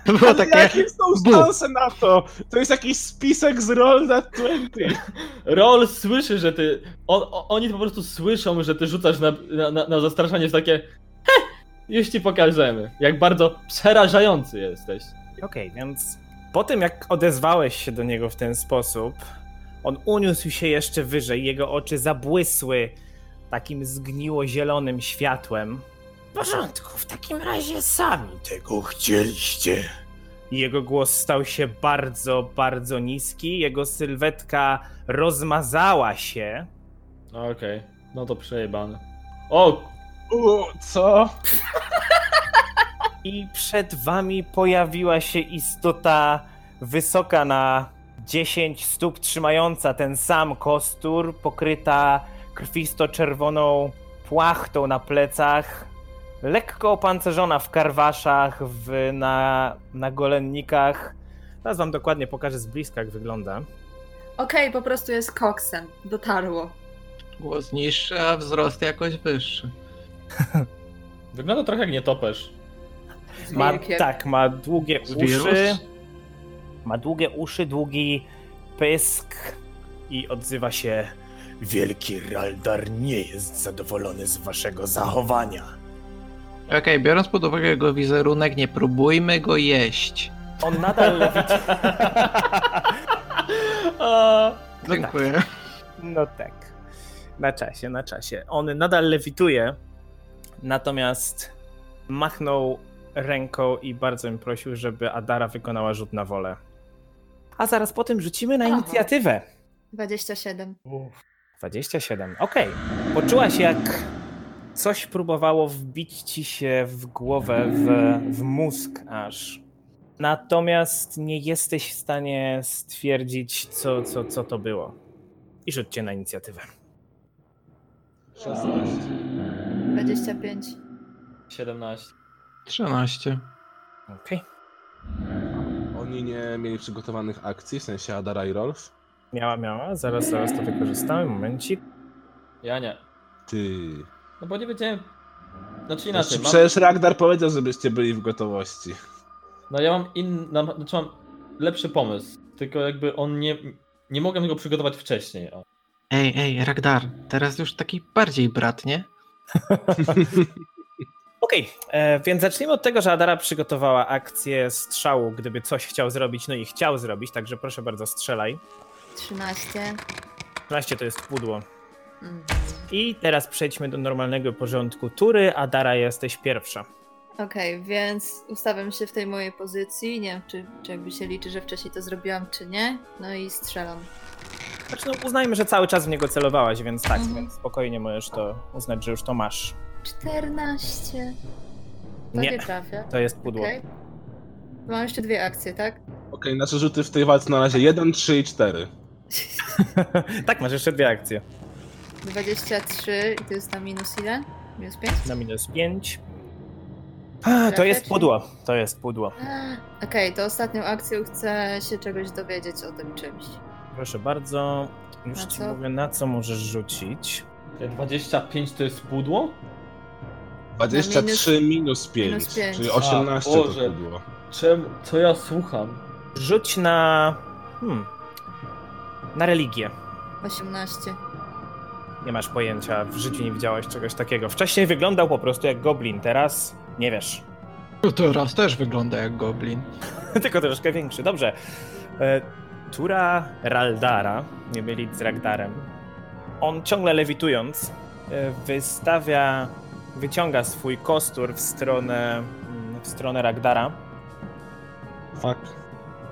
To było Ale takie... Jakie są Bu. szanse na to? To jest jakiś spisek z Roll na 20. Rol słyszy, że ty. On, o- oni po prostu słyszą, że ty rzucasz na, na, na, na zastraszanie jest takie. "Heh, Już ci pokażemy, jak bardzo przerażający jesteś. Okej, więc po tym jak odezwałeś się do niego w ten sposób, on uniósł się jeszcze wyżej, jego oczy zabłysły takim zgniło-zielonym światłem W porządku, w takim razie sami tego chcieliście. i jego głos stał się bardzo, bardzo niski, jego sylwetka rozmazała się. No Okej, no to przejebane. O! U, co? I przed wami pojawiła się istota wysoka na 10 stóp, trzymająca ten sam kostur, pokryta krwisto-czerwoną płachtą na plecach, lekko opancerzona w karwaszach, w, na, na golennikach. Teraz wam dokładnie pokażę z bliska, jak wygląda. Okej, po prostu jest koksem. Dotarło. Głos niższy, a wzrost jakoś wyższy. Wygląda trochę jak nietoperz. Ma, Wilkiem. tak, ma długie uszy. Wirus? Ma długie uszy, długi pysk i odzywa się. Wielki Raldar nie jest zadowolony z waszego zachowania. Okej, biorąc pod uwagę jego wizerunek, nie próbujmy go jeść. On nadal lewituje. A, tak. Dziękuję. No tak. Na czasie, na czasie. On nadal lewituje, natomiast machnął ręką i bardzo mi prosił, żeby Adara wykonała rzut na wolę. A zaraz po tym rzucimy na Aha. inicjatywę. 27. 27. Okej. Poczułaś, jak coś próbowało wbić ci się w głowę, w, w mózg aż. Natomiast nie jesteś w stanie stwierdzić, co, co, co to było. I rzućcie na inicjatywę. 16. 25. 17. 13. Okej. Oni nie mieli przygotowanych akcji, w sensie Adara i Rolf? Miała, miała. Zaraz, zaraz to wykorzystamy. Momencik. Ja nie. Ty. No bo nie wiedziałem. Znaczy Znaczy, inaczej, mam, przecież Ragnar powiedział, żebyście byli w gotowości. no ja mam inny, na- znaczy mam lepszy pomysł, tylko jakby on nie, nie mogłem go przygotować wcześniej. O. Ej, ej, Ragdar, teraz już taki bardziej brat, nie? Okej, e, więc zacznijmy od tego, że Adara przygotowała akcję strzału, gdyby coś chciał zrobić, no i chciał zrobić, także proszę bardzo strzelaj. 13. 12 to jest pudło. Mm. I teraz przejdźmy do normalnego porządku tury. Adara, jesteś pierwsza. Okej, więc ustawiam się w tej mojej pozycji. Nie wiem, czy, czy jakby się liczy, że wcześniej to zrobiłam, czy nie. No i strzelam. Znaczy, no, uznajmy, że cały czas w niego celowałaś, więc tak, Mhm. więc spokojnie możesz to uznać, że już to masz. 14. To nie, Nie, trafia. to jest pudło. Okej. Mam jeszcze dwie akcje, tak? Okej, nasze rzuty w tej walce na razie 1, 3 i 4. tak, masz jeszcze dwie akcje. 23 i to jest na minus ile? Minus 5? Na minus 5. A, to jest pudło, to jest pudło. Okej, to ostatnią akcją chcę się czegoś dowiedzieć o tym czymś. Proszę bardzo, już Na ci co? mówię, na co możesz rzucić. Te 25 to jest pudło? 23 minus, minus 5, minus pięć. czyli 18 A, Boże. to było. Czemu? Co ja słucham? Rzuć na... Hmm, na religię. 18. Nie masz pojęcia, w życiu nie widziałeś czegoś takiego. Wcześniej wyglądał po prostu jak goblin, teraz nie wiesz. No teraz też wygląda jak goblin. Tylko troszkę większy. Dobrze. E, Tura Raldara, nie mylić z Ragdarem, on ciągle lewitując, e, wystawia, wyciąga swój kostur w stronę, mm, w stronę Ragdara Fuck.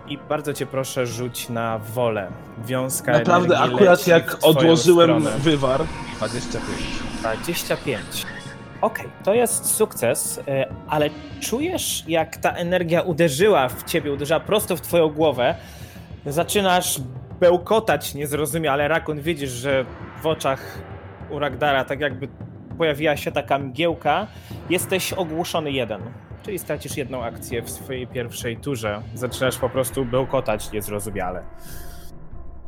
i bardzo cię proszę rzuć na wolę. Wiązka Naprawdę, energii akurat leci jak w twoją odłożyłem stronę. wywar, 25. 25. Okej, to jest sukces, y, ale czujesz, jak ta energia uderzyła w ciebie, uderzyła prosto w twoją głowę. Zaczynasz bełkotać niezrozumiale. Rakun, widzisz, że w oczach u Ragdara tak jakby pojawiła się taka mgiełka. Jesteś ogłuszony jeden, czyli stracisz jedną akcję w swojej pierwszej turze. Zaczynasz po prostu bełkotać niezrozumiale.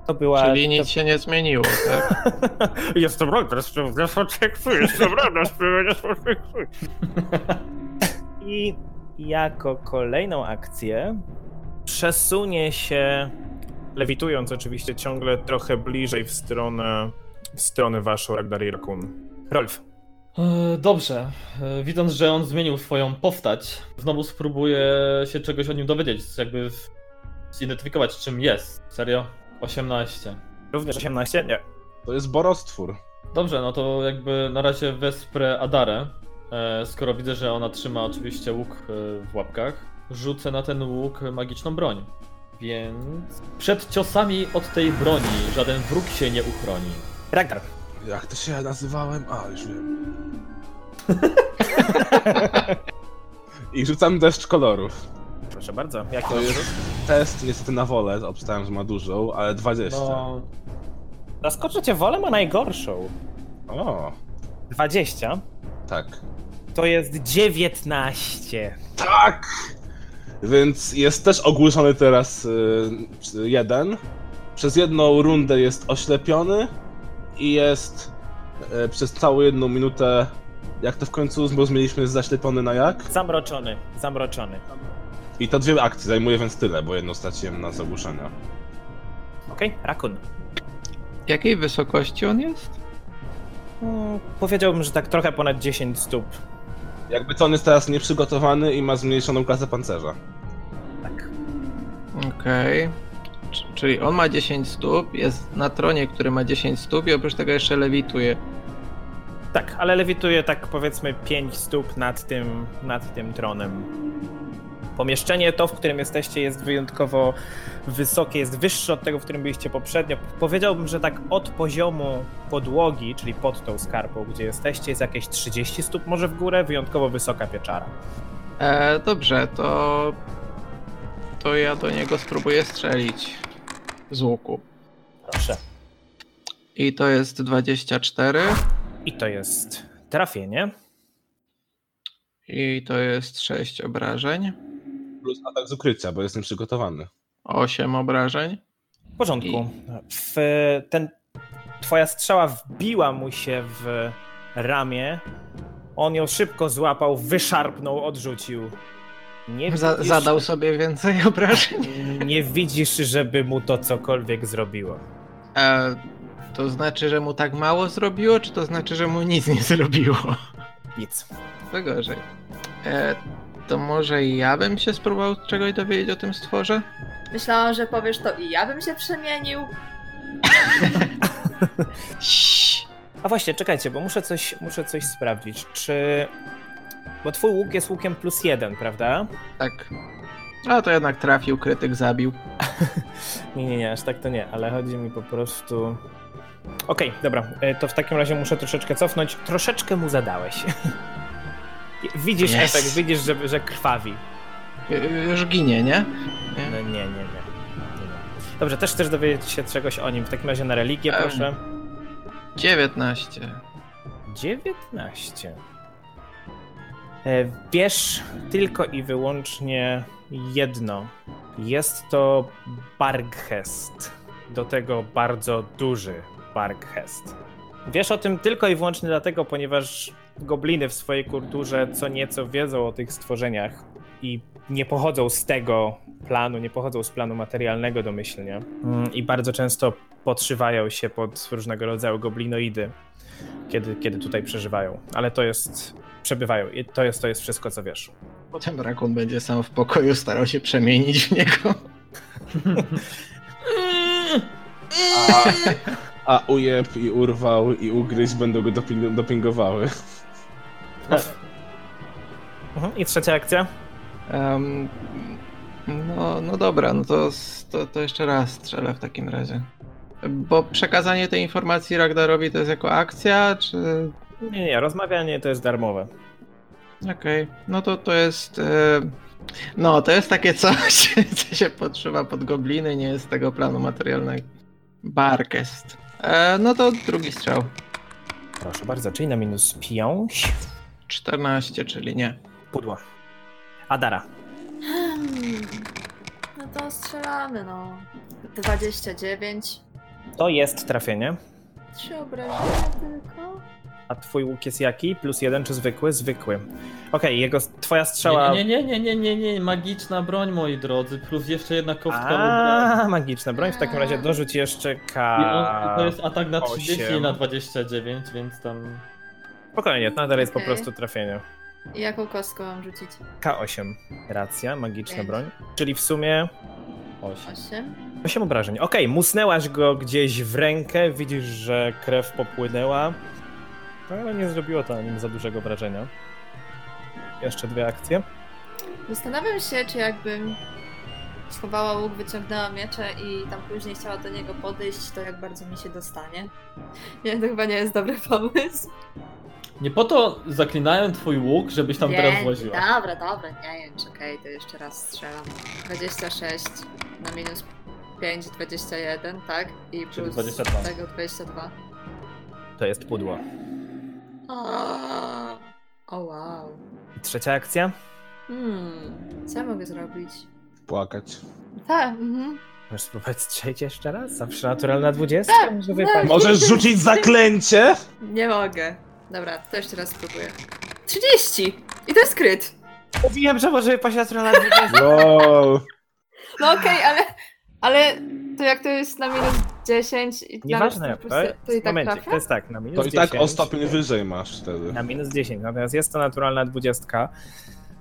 To była... Czyli to- nic się nie zmieniło, tak? Jestem Roger, jestem Roger, jestem Roger, jestem I I jako kolejną akcję przesunie się, lewitując oczywiście ciągle trochę bliżej w stronę, w stronę waszą, Ragnar i Rakun. Rolf, E, Dobrze. E, Widząc, że on zmienił swoją postać, znowu spróbuję się czegoś o nim dowiedzieć, jakby w- zidentyfikować czym jest. Serio? 18. również 18? Nie. To jest borostwór. Dobrze, no to jakby na razie wesprę Adarę. E, Skoro widzę, że ona trzyma oczywiście łuk e, w łapkach, rzucę na ten łuk magiczną broń. Więc przed ciosami od tej broni żaden wróg się nie uchroni. Ragnar. Jak to się ja nazywałem? A, już wiem. I rzucam deszcz kolorów. Proszę bardzo. Jak To jest test niestety na wolę, obstałem, że ma dużą, ale 20. No, Zaskoczę cię, wolę ma najgorszą. No. O, 20. tak. To jest 19. Tak! Więc jest też ogłuszony teraz y, jeden. Przez jedną rundę jest oślepiony i jest y, przez całą jedną minutę, jak to w końcu zrozumieliśmy, zaślepiony na jak. Zamroczony, zamroczony. I to dwie akcje zajmuje więc tyle, bo jedną straciłem na zagłuszenia. Okej, Rakun. Jakiej wysokości on jest? Mm, powiedziałbym, że tak trochę ponad 10 stóp. Jakby to on jest teraz nieprzygotowany i ma zmniejszoną klasę pancerza. Tak. Okej. C- Czyli on ma 10 stóp, jest na tronie, który ma 10 stóp i oprócz tego jeszcze lewituje. Tak, ale lewituje tak powiedzmy 5 stóp nad tym, nad tym tronem. Pomieszczenie to, w którym jesteście, jest wyjątkowo wysokie, jest wyższe od tego, w którym byliście poprzednio. Powiedziałbym, że tak od poziomu podłogi, czyli pod tą skarpą, gdzie jesteście, jest jakieś 30 stóp może w górę, wyjątkowo wysoka pieczara. E, dobrze, to... To ja do niego spróbuję strzelić z łuku. Proszę. I to jest 24 I to jest trafienie. i to jest 6 obrażeń, Plus atak z ukrycia, bo jest nieprzygotowany. 8 obrażeń. W porządku. W, ten, twoja strzała wbiła mu się w ramię. On ją szybko złapał, wyszarpnął, odrzucił. Nie Za- widzisz, zadał sobie więcej obrażeń. Nie widzisz, żeby mu to cokolwiek zrobiło. E, to znaczy, że mu tak mało zrobiło, czy to znaczy, że mu nic nie zrobiło? Nic. To gorzej. E, to może ja bym się spróbował czegoś dowiedzieć o tym stworze? Myślałam, że powiesz to i ja bym się przemienił. Ciii. A właśnie, czekajcie, bo muszę coś, muszę coś sprawdzić. Czy. Bo twój łuk jest łukiem plus jeden, prawda? Tak. A to jednak trafił, krytyk zabił. Nie, nie, nie, aż tak to nie, ale chodzi mi po prostu. Okej, dobra, e, to w takim razie muszę troszeczkę cofnąć. Troszeczkę mu zadałeś. Widzisz Yes. efekt, widzisz, że, że krwawi. Y- y- Już ginie, nie? No, nie, nie? nie, nie. nie, nie. Dobrze, też chcesz dowiedzieć się czegoś o nim. W takim razie na religię, Em. proszę. 19. 19. E, Wiesz tylko i wyłącznie jedno. Jest to Barghest. Do tego bardzo duży Barghest. Wiesz o tym tylko i wyłącznie dlatego, ponieważ gobliny w swojej kulturze co nieco wiedzą o tych stworzeniach i nie pochodzą z tego planu, nie pochodzą z planu materialnego domyślnie. Mm, I bardzo często podszywają się pod różnego rodzaju goblinoidy kiedy, kiedy tutaj przeżywają. Ale to jest. Przebywają. I to jest, to jest wszystko, co wiesz. Potem rakun będzie sam w pokoju starał się przemienić w niego. A, a ujeb i urwał i ugryź będą go doping- dopingowały. Mhm. I trzecia akcja. Em, no, no dobra, no to, s- to, to jeszcze raz strzelę w takim razie. Bo przekazanie tej informacji Ragnarowi to jest jako akcja, czy... Nie, nie, rozmawianie to jest darmowe. Okej, no to to jest... e, No, to jest takie coś, co się podszywa pod gobliny, nie jest tego planu materialnego. Barkest. E, no to drugi strzał. Proszę bardzo, czyli na minus 5. 14, czyli nie. Pudło. Adara. Hmm. No to strzelamy, no. 29. To jest trafienie. Trzy obrażenia tylko. A twój łuk jest jaki? Plus jeden czy zwykły? Zwykły. Okej, jego, twoja strzała... Nie, nie, nie, nie, nie, nie, nie, magiczna broń, moi drodzy, plus jeszcze jedna kostka ubrana. A, magiczna broń. W takim razie dorzuć jeszcze I on, K. to jest atak na 30 i na osiem. 29, więc tam... Spokojnie, to nadal jest po Okej. prostu trafienie. I jaką kostką mam rzucić? K8. Racja, magiczna Pięć. broń. Czyli w sumie 8. Osiem. 8 obrażeń. Okej, musnęłaś go gdzieś w rękę, widzisz, że krew popłynęła. No, Ale nie zrobiło to na nim za dużego wrażenia. Jeszcze dwie akcje. Zastanawiam się, czy jakbym schowała łuk, wyciągnęła miecze i tam później chciała do niego podejść, to jak bardzo mi się dostanie. Nie, to chyba nie jest dobry pomysł. Nie po to zaklinałem twój łuk, żebyś tam nie, teraz łaziła. Dobra, dobra, nie wiem, czekaj, to jeszcze raz strzelam. 26 na minus 5, 21, tak? I Czyli plus 22. tego 22. To jest pudło. O, o wow. I trzecia akcja. Hmm, co ja mogę zrobić? Płakać. Tak, mhm. Możesz spróbować strzelić jeszcze raz? Zawsze naturalna 20? Tak, Może tak. wypaść. Możesz rzucić zaklęcie? nie mogę. Dobra, to jeszcze raz spróbuję. 30! I to jest kryt. Mówiłem, że może wypaść naturalna 20. Wow. No okej, ale, ale to jak to jest na minus 10 i na Nieważne, plus- to jest to i tak momencik, trafia? to jest tak, na minus To i tak 10. o stopień wyżej masz wtedy. Na minus 10, natomiast jest to naturalna 20.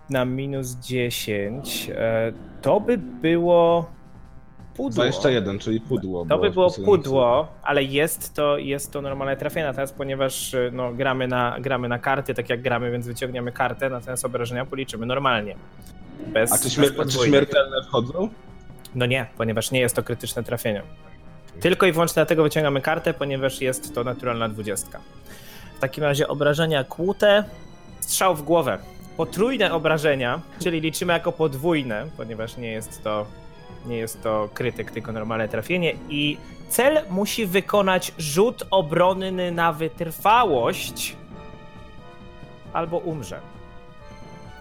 Na minus 10 e, to by było pudło. 21, czyli pudło. To by było posunięcie. pudło, ale jest to, jest to normalne trafienie. Natomiast ponieważ e, no, gramy, na, gramy na karty, tak jak gramy, więc wyciągniemy kartę, natomiast obrażenia policzymy normalnie. Bez, A czy, bez śmier- czy podwójnych. śmiertelne wchodzą? No nie, ponieważ nie jest to krytyczne trafienie. Tylko i wyłącznie dlatego wyciągamy kartę, ponieważ jest to naturalna dwudziestka. W takim razie obrażenia kłute, strzał w głowę. Potrójne obrażenia, czyli liczymy jako podwójne, ponieważ nie jest to, nie jest to krytyk, tylko normalne trafienie. I cel musi wykonać rzut obronny na wytrwałość albo umrze.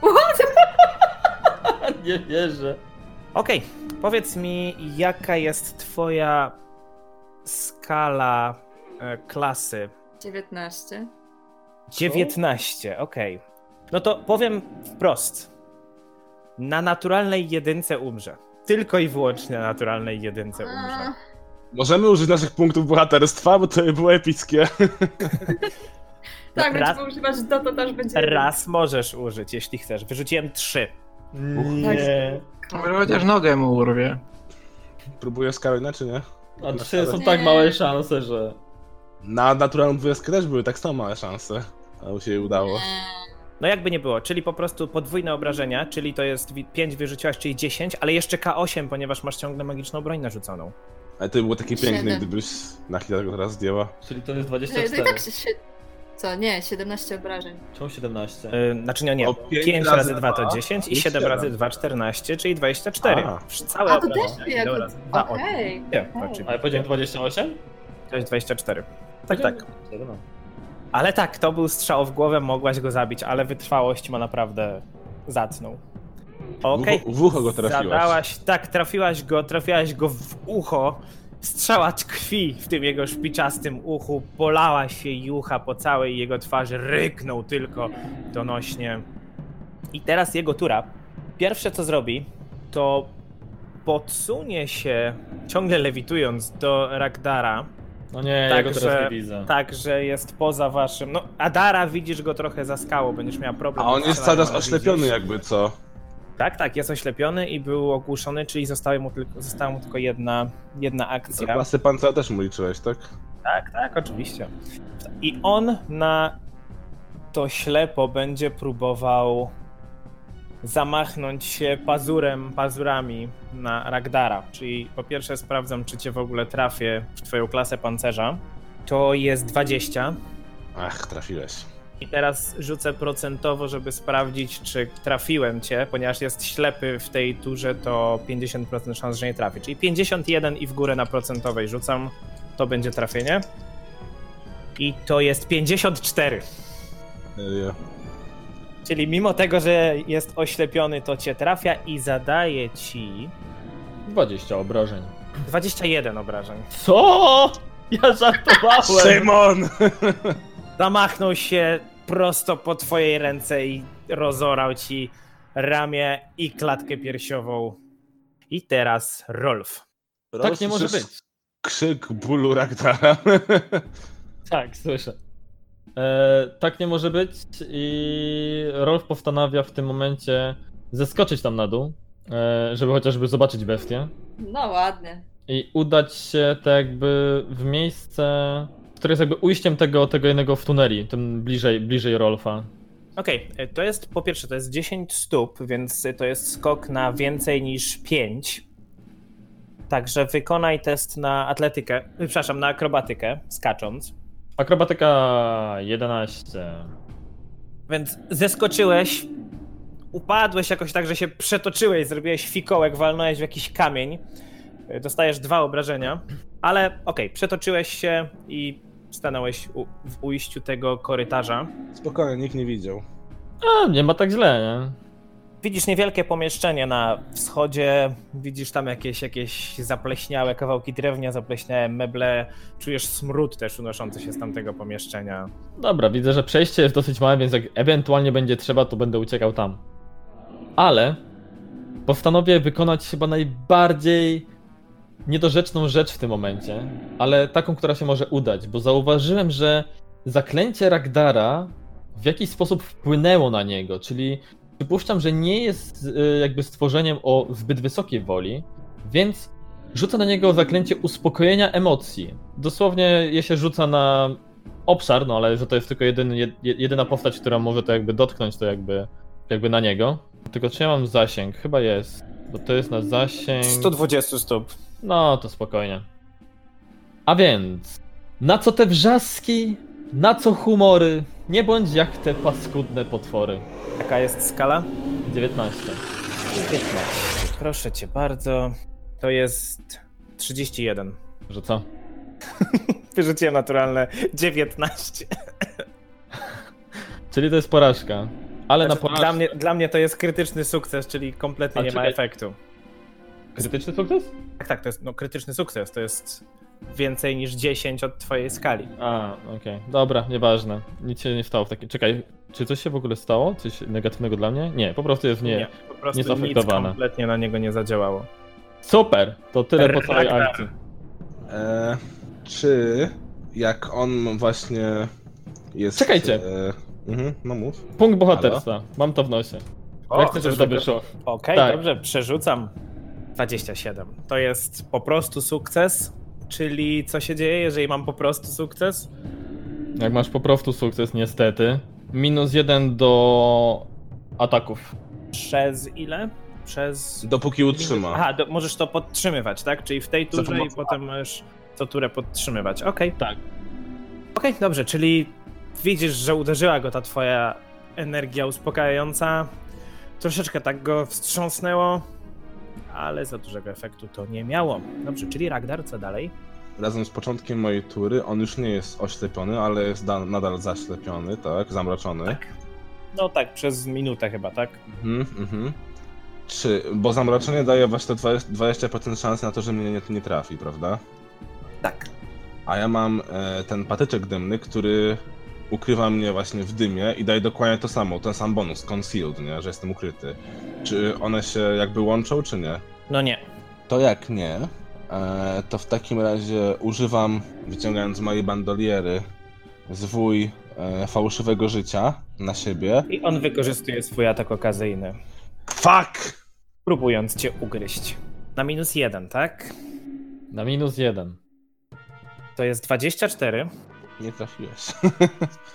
Nie wierzę. Okej, powiedz mi, jaka jest twoja skala e, klasy 19. 19, okej. No to powiem wprost. Na naturalnej jedynce umrze. Tylko i wyłącznie na naturalnej jedynce umrze. A, Możemy użyć naszych punktów bohaterstwa, bo to by było epickie. No raz, tak, będziemy używać dotąd, aż będzie... raz możesz użyć, jeśli chcesz. Wyrzuciłem trzy. Nie. Może chociaż nogę mu urwie. Próbuję Skarolina, czy nie? A trzy są tak małe szanse, że... Na naturalną 20 też były tak samo małe szanse. Ale mu się udało. E, No jakby nie było, czyli po prostu podwójne obrażenia, czyli to jest 5 wyrzuciłaś, czyli 10, ale jeszcze K8, ponieważ masz ciągle magiczną broń narzuconą. Ale to by było takie piękne, Siedem. gdybyś na chwilę go teraz zdjęła. Czyli to jest No i 24. tak się... się- Co, nie, 17 obrażeń. Czemu 17? Yy, znaczy nie, nie. O, pięć 5 razy razy 2 to dwa 10 i i 7 siedem. razy 2 14, czyli 24. A. Całe A, to obrażenia też idą jako... razy dwa, Okej. o- Nie, znaczy, A ja powiedziałem 28? to jest 24. Tak, tak. Dobra. Ale tak, to był strzał w głowę, mogłaś go zabić, ale wytrwałość ma naprawdę zacną. Okej. W ucho- w ucho go trafiłaś. Zadałaś, tak, trafiłaś go, trafiłaś go w ucho. Strzała tkwi w tym jego szpiczastym uchu, polała się jucha po całej jego twarzy, ryknął tylko donośnie. I teraz jego tura. Pierwsze co zrobi, to podsunie się, ciągle lewitując, do Ragdara. No nie, ja go Także- teraz nie widzę. Tak, że jest poza waszym. No, Adara widzisz go trochę za skałą, będziesz miała problem. A on z jest cały strzelaniem, czas ale oślepiony widzisz. jakby, co? Tak, tak, jest oślepiony i był ogłuszony, czyli została mu tylko, została mu tylko jedna, jedna To akcja. klasy pancerza też mu liczyłeś, tak? Tak, tak, oczywiście. I on na to ślepo będzie próbował zamachnąć się pazurem, pazurami na Ragdara. Czyli po pierwsze sprawdzam, czy cię w ogóle trafię w twoją klasę pancerza. To jest 20. Ach, trafiłeś. I teraz rzucę procentowo, żeby sprawdzić, czy trafiłem cię, ponieważ jest ślepy w tej turze, to 50% szans, że nie trafi. Czyli 51 i w górę na procentowej rzucam, to będzie trafienie. I to jest 54. Serio. Czyli mimo tego, że jest oślepiony, to cię trafia i zadaje ci 20 obrażeń. 21 obrażeń. Co? Ja żartowałem! Szymon! zamachnął się prosto po twojej ręce i rozorał ci ramię i klatkę piersiową. I teraz Rolf. Tak nie może być. Krzyk bólu Ragdara. Tak, słyszę. E, tak nie może być i Rolf postanawia w tym momencie zeskoczyć tam na dół, e, żeby chociażby zobaczyć bestię No ładnie. i udać się tak jakby w miejsce, które jest jakby ujściem tego, tego jednego w tuneli, tym bliżej, bliżej Rolfa. Okej, e, to jest po pierwsze, to jest 10 stóp, więc e, to jest skok na więcej niż 5. Także wykonaj test na atletykę, e, przepraszam, na akrobatykę, skacząc. Akrobatyka 11. Więc zeskoczyłeś, upadłeś jakoś tak, że się przetoczyłeś, zrobiłeś fikołek, walnąłeś w jakiś kamień. E, Dostajesz dwa obrażenia, ale okej, przetoczyłeś się i stanąłeś u, w ujściu tego korytarza. Spokojnie, nikt nie widział. A, nie ma tak źle, nie? Widzisz niewielkie pomieszczenie na wschodzie, widzisz tam jakieś, jakieś zapleśniałe kawałki drewnia, zapleśniałe meble, czujesz smród też unoszący się z tamtego pomieszczenia. Dobra, widzę, że przejście jest dosyć małe, więc jak ewentualnie będzie trzeba, to będę uciekał tam. Ale postanowię wykonać chyba najbardziej niedorzeczną rzecz w tym momencie, ale taką, która się może udać, bo zauważyłem, że zaklęcie Ragdara w jakiś sposób wpłynęło na niego, czyli przypuszczam, że nie jest y, jakby stworzeniem o zbyt wysokiej woli, więc rzuca na niego zaklęcie uspokojenia emocji. Dosłownie je się rzuca na obszar, no ale że to jest tylko jedyny, jed- jedyna postać, która może to jakby dotknąć, to jakby, jakby na niego. Tylko czy ja mam zasięg? Chyba jest, bo to jest na zasięg... 120 stóp. No, to spokojnie. A więc, na co te wrzaski, na co humory, nie bądź jak te paskudne potwory. Jaka jest skala? 19. 15. Proszę cię bardzo. To jest 31. Że co? Wyrzuciłem naturalne 19. Czyli to jest porażka. Ale na porażkę... Znaczy, Dla mnie, dla mnie to jest krytyczny sukces, czyli kompletnie A, nie ma czekaj. efektu. Krytyczny sukces? Tak, tak, to jest no, krytyczny sukces, to jest więcej niż 10 od twojej skali. A, okej. Dobra, nieważne. Nic się nie stało w takim... Czekaj, czy coś się w ogóle stało? Coś niegatywnego dla mnie? Nie, po prostu jest nie. po jest prostu nic afektowane. kompletnie na niego nie zadziałało. Tak, Super! To tyle po całej Ragnar. akcji. E, czy jak on właśnie jest. Czekajcie. E, mhm, no mów. Punkt bohaterstwa. Mam to w nosie. O, Jak chcę, żeby to żeby- wyszło. Okej, Tak. dobrze, przerzucam. 27. To jest po prostu sukces, czyli co się dzieje, jeżeli mam po prostu sukces? Jak masz po prostu sukces, niestety. Minus jeden do ataków. Przez ile? Przez... Dopóki utrzyma. Aha, do, możesz to podtrzymywać, tak? Czyli w tej Za turze i pomocą- potem możesz co turę podtrzymywać. Okej. Tak. Okej, dobrze, czyli widzisz, że uderzyła go ta twoja energia uspokajająca. Troszeczkę tak go wstrząsnęło, ale za dużego efektu to nie miało. Dobrze, czyli Ragnar, co dalej? Razem z początkiem mojej tury on już nie jest oślepiony, ale jest da- nadal zaślepiony, tak? Zamroczony. No tak, przez minutę chyba, tak? Mhm, mhm. Czy, bo zamroczenie daje właśnie 20%, 20% szans na to, że mnie nie, nie trafi, prawda? Tak. A ja mam e, ten patyczek dymny, który ukrywa mnie właśnie w dymie i daje dokładnie to samo, ten sam bonus, concealed, nie? Że jestem ukryty. Czy one się jakby łączą, czy nie? No nie. To jak nie, e, to w takim razie używam, wyciągając z mojej bandoliery, zwój e, fałszywego życia na siebie. I on wykorzystuje swój atak okazyjny, Fuck! próbując cię ugryźć. Na minus jeden, tak? Na minus jeden. To jest 24 Nie trafiłeś.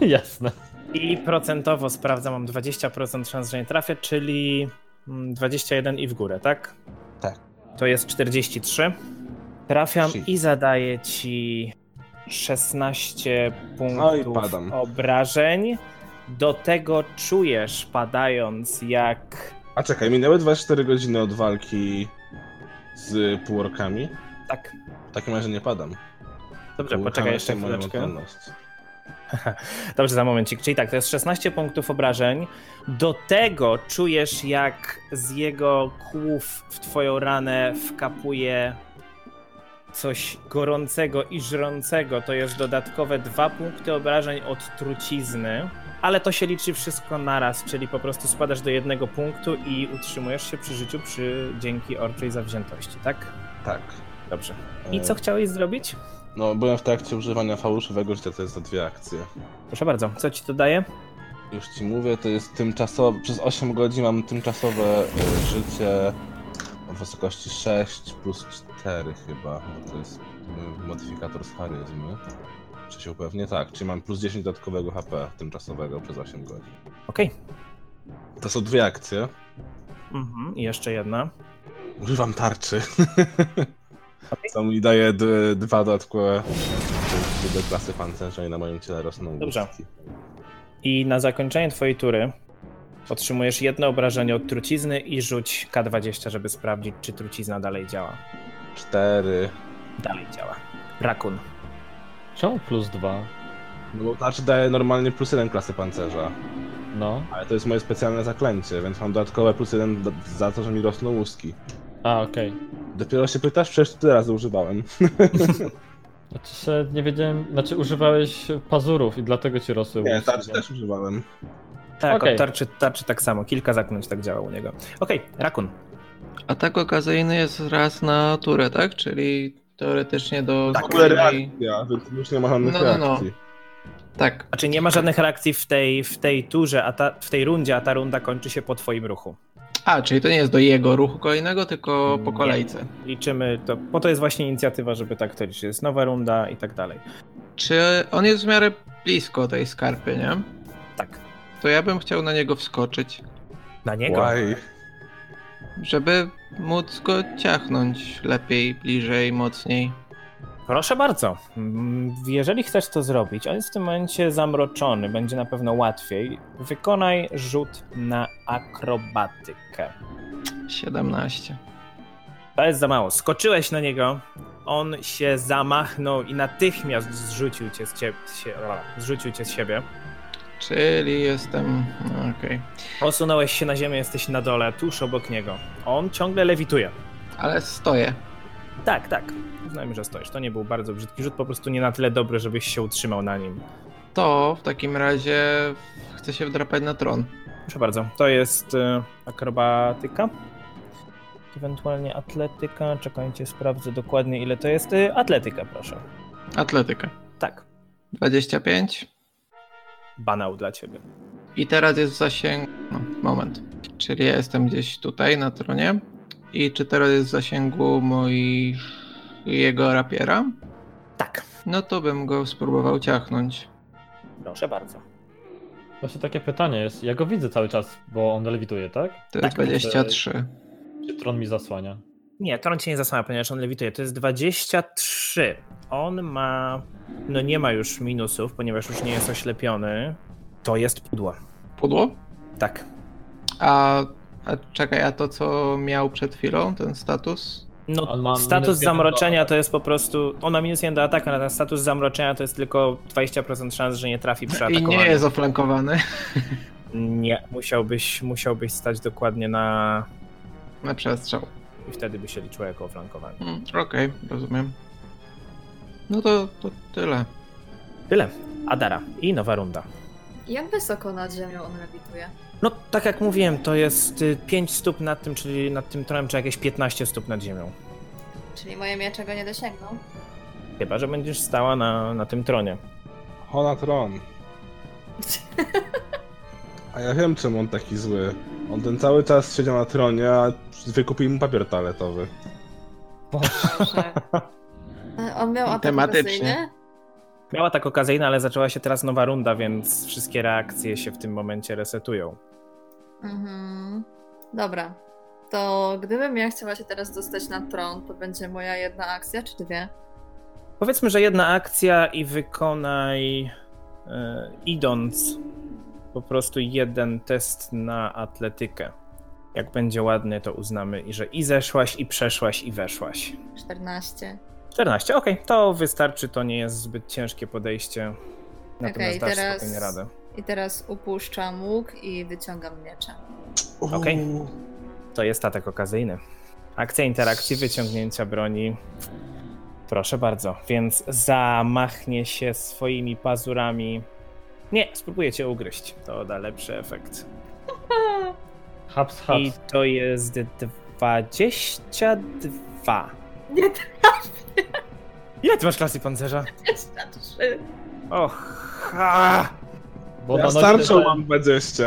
Jasne. i procentowo sprawdzam, mam 20% szans, że nie trafię, czyli mm, 21 i w górę, tak? Tak. To jest 43. Trafiam Shit. i zadaję ci 16 No i punktów padam. obrażeń. Do tego czujesz, padając, jak A czekaj, minęły 24 godziny od walki z półorkami. tak W takim razie nie padam. Dobrze, Półorkami poczekaj jeszcze są moją chwileczkę. wolność. Dobrze, za momencik. Czyli tak, to jest 16 punktów obrażeń. Do tego czujesz, jak z jego kłów w twoją ranę wkapuje coś gorącego i żrącego, to jest dodatkowe dwa punkty obrażeń od trucizny, ale to się liczy wszystko naraz, czyli po prostu spadasz do jednego punktu i utrzymujesz się przy życiu przy dzięki orczej zawziętości, tak? Tak. Dobrze. I E, co chciałeś zrobić? No, byłem w trakcie używania fałszywego życia, to jest za dwie akcje. Proszę bardzo, co ci to daje? Już ci mówię, to jest tymczasowe. Przez 8 godzin mam tymczasowe y, życie o wysokości 6 plus 4 chyba, bo to jest y, modyfikator z charyzmy. Czy się upewnię? Tak, czyli mam plus 10 dodatkowego HP tymczasowego przez 8 godzin. Okej. To są dwie akcje. Mhm, i jeszcze jedna. Używam tarczy. Co mi daje d- dwa dodatkowe punkty do klasy pancerza i na moim ciele rosną Dobrze. guzki. I na zakończenie twojej tury otrzymujesz jedno obrażenie od trucizny i rzuć K20, żeby sprawdzić, czy trucizna dalej działa. Cztery. Dalej działa. Rakun. Czemu plus dwa? No bo tarcz daje normalnie plus jeden klasy pancerza. No. Ale to jest moje specjalne zaklęcie, więc mam dodatkowe plus jeden do- za to, że mi rosną łuski. A, okej. Dopiero się pytasz? Przecież tyle razy używałem. Znaczy się nie wiedziałem, znaczy używałeś pazurów i dlatego ci rosły Nie, łuski, tarczy no. też używałem. Tak, Okej. od tarczy, tarczy tak samo. Kilka zaklęć tak działa u niego. Okej, Rakun. Atak tak okazyjny jest raz na turę, tak? Czyli teoretycznie do... W ogóle kolejnej- reakcja, Tak, więc już nie ma żadnych No, no, no. reakcji. Tak, Znaczy nie ma żadnych reakcji w tej, w tej turze, a ta, w tej rundzie, a ta runda kończy się po twoim ruchu. A, czyli to nie jest do jego ruchu kolejnego, tylko po Nie. kolejce. Liczymy to, bo to jest właśnie inicjatywa, żeby tak to liczyć. Jest nowa runda i tak dalej. Czy on jest w miarę blisko tej skarpy, nie? Tak. To ja bym chciał na niego wskoczyć, Na niego. Łaj. żeby móc go ciachnąć lepiej, bliżej, mocniej. Proszę bardzo. Mm, Jeżeli chcesz to zrobić, on jest w tym momencie zamroczony, będzie na pewno łatwiej. Wykonaj rzut na akrobatykę. 17. To jest za mało. Skoczyłeś na niego, on się zamachnął i natychmiast zrzucił cię z, cie- się, zrzucił cię z siebie. Czyli jestem. no, Okej. Osunąłeś się na ziemię, jesteś na dole, tuż obok niego. On ciągle lewituje. Ale stoję. Tak, tak. Uznajmy, że stoisz. To nie był bardzo brzydki rzut, po prostu nie na tyle dobry, żebyś się utrzymał na nim. To w takim razie chcę się wdrapać na tron. Proszę bardzo, to jest e, akrobatyka. Ewentualnie atletyka. Czekajcie, sprawdzę dokładnie ile to jest. E, Atletyka, proszę. Atletyka. Tak, 25. banał dla ciebie. I teraz jest w zasięgu. No, moment. Czyli ja jestem gdzieś tutaj na tronie. I czy teraz jest w zasięgu moi. jego rapiera? Tak, No to bym go spróbował ciachnąć. proszę bardzo. Właśnie takie pytanie jest, ja go widzę cały czas, bo on lewituje, tak? To Tak, jest 23. Czy tron mi zasłania? Nie, Tron cię nie zasłania, ponieważ on lewituje. To jest 23. On ma. No nie ma już minusów, ponieważ już nie jest oślepiony. To jest pudło. Pudło? Tak. A, a czekaj, a to co miał przed chwilą, ten status? No, On ma minus status jeden do zamroczenia to jest po prostu. On ma minus jeden do ataku, natomiast status zamroczenia to jest tylko 20% szans, że nie trafi przy I atakowaniu. nie jest oflankowany. Nie, musiałbyś, musiałbyś stać dokładnie na. Na przestrzał. I wtedy by się liczyło jako oflankowanie. Mm, Okej, rozumiem. No to, to tyle. Tyle. Adara. I nowa runda. Jak wysoko nad ziemią on lewituje? No, tak jak mówiłem, to jest y, 5 stóp nad tym, czyli nad tym tronem, czy jakieś 15 stóp nad ziemią. Czyli moje miecze go nie dosięgną? Chyba, że będziesz stała na, na tym tronie. Hona Tron. A ja wiem, czemu on taki zły. On ten cały czas siedział na tronie, a wykupili mu papier toaletowy. Boże. E, On miał atak Tematycznie. okazyjny? Miała tak okazyjna, ale zaczęła się teraz nowa runda, więc wszystkie reakcje się w tym momencie resetują. Mhm. Dobra. To gdybym ja chciała się teraz dostać na tron, to będzie moja jedna akcja, czy dwie? Powiedzmy, że jedna akcja i wykonaj e, idąc po prostu jeden test na atletykę. Jak będzie ładny, to uznamy, i że i zeszłaś, i przeszłaś, i weszłaś. 14. 14, okej, to wystarczy, to nie jest zbyt ciężkie podejście. Natomiast Okej, dasz teraz- spokojnie radę. I teraz upuszczam łuk i wyciągam miecze. Okej. To jest atak okazyjny. Akcja interakcji, wyciągnięcia broni. Proszę bardzo, więc zamachnie się swoimi pazurami. Nie, spróbuję cię ugryźć. To da lepszy efekt. Haps, I haps. to jest 22. Nie Ile ty masz klasy pancerza? 23. Och. Bo ona Ja nosi, starczą ten, mam 20.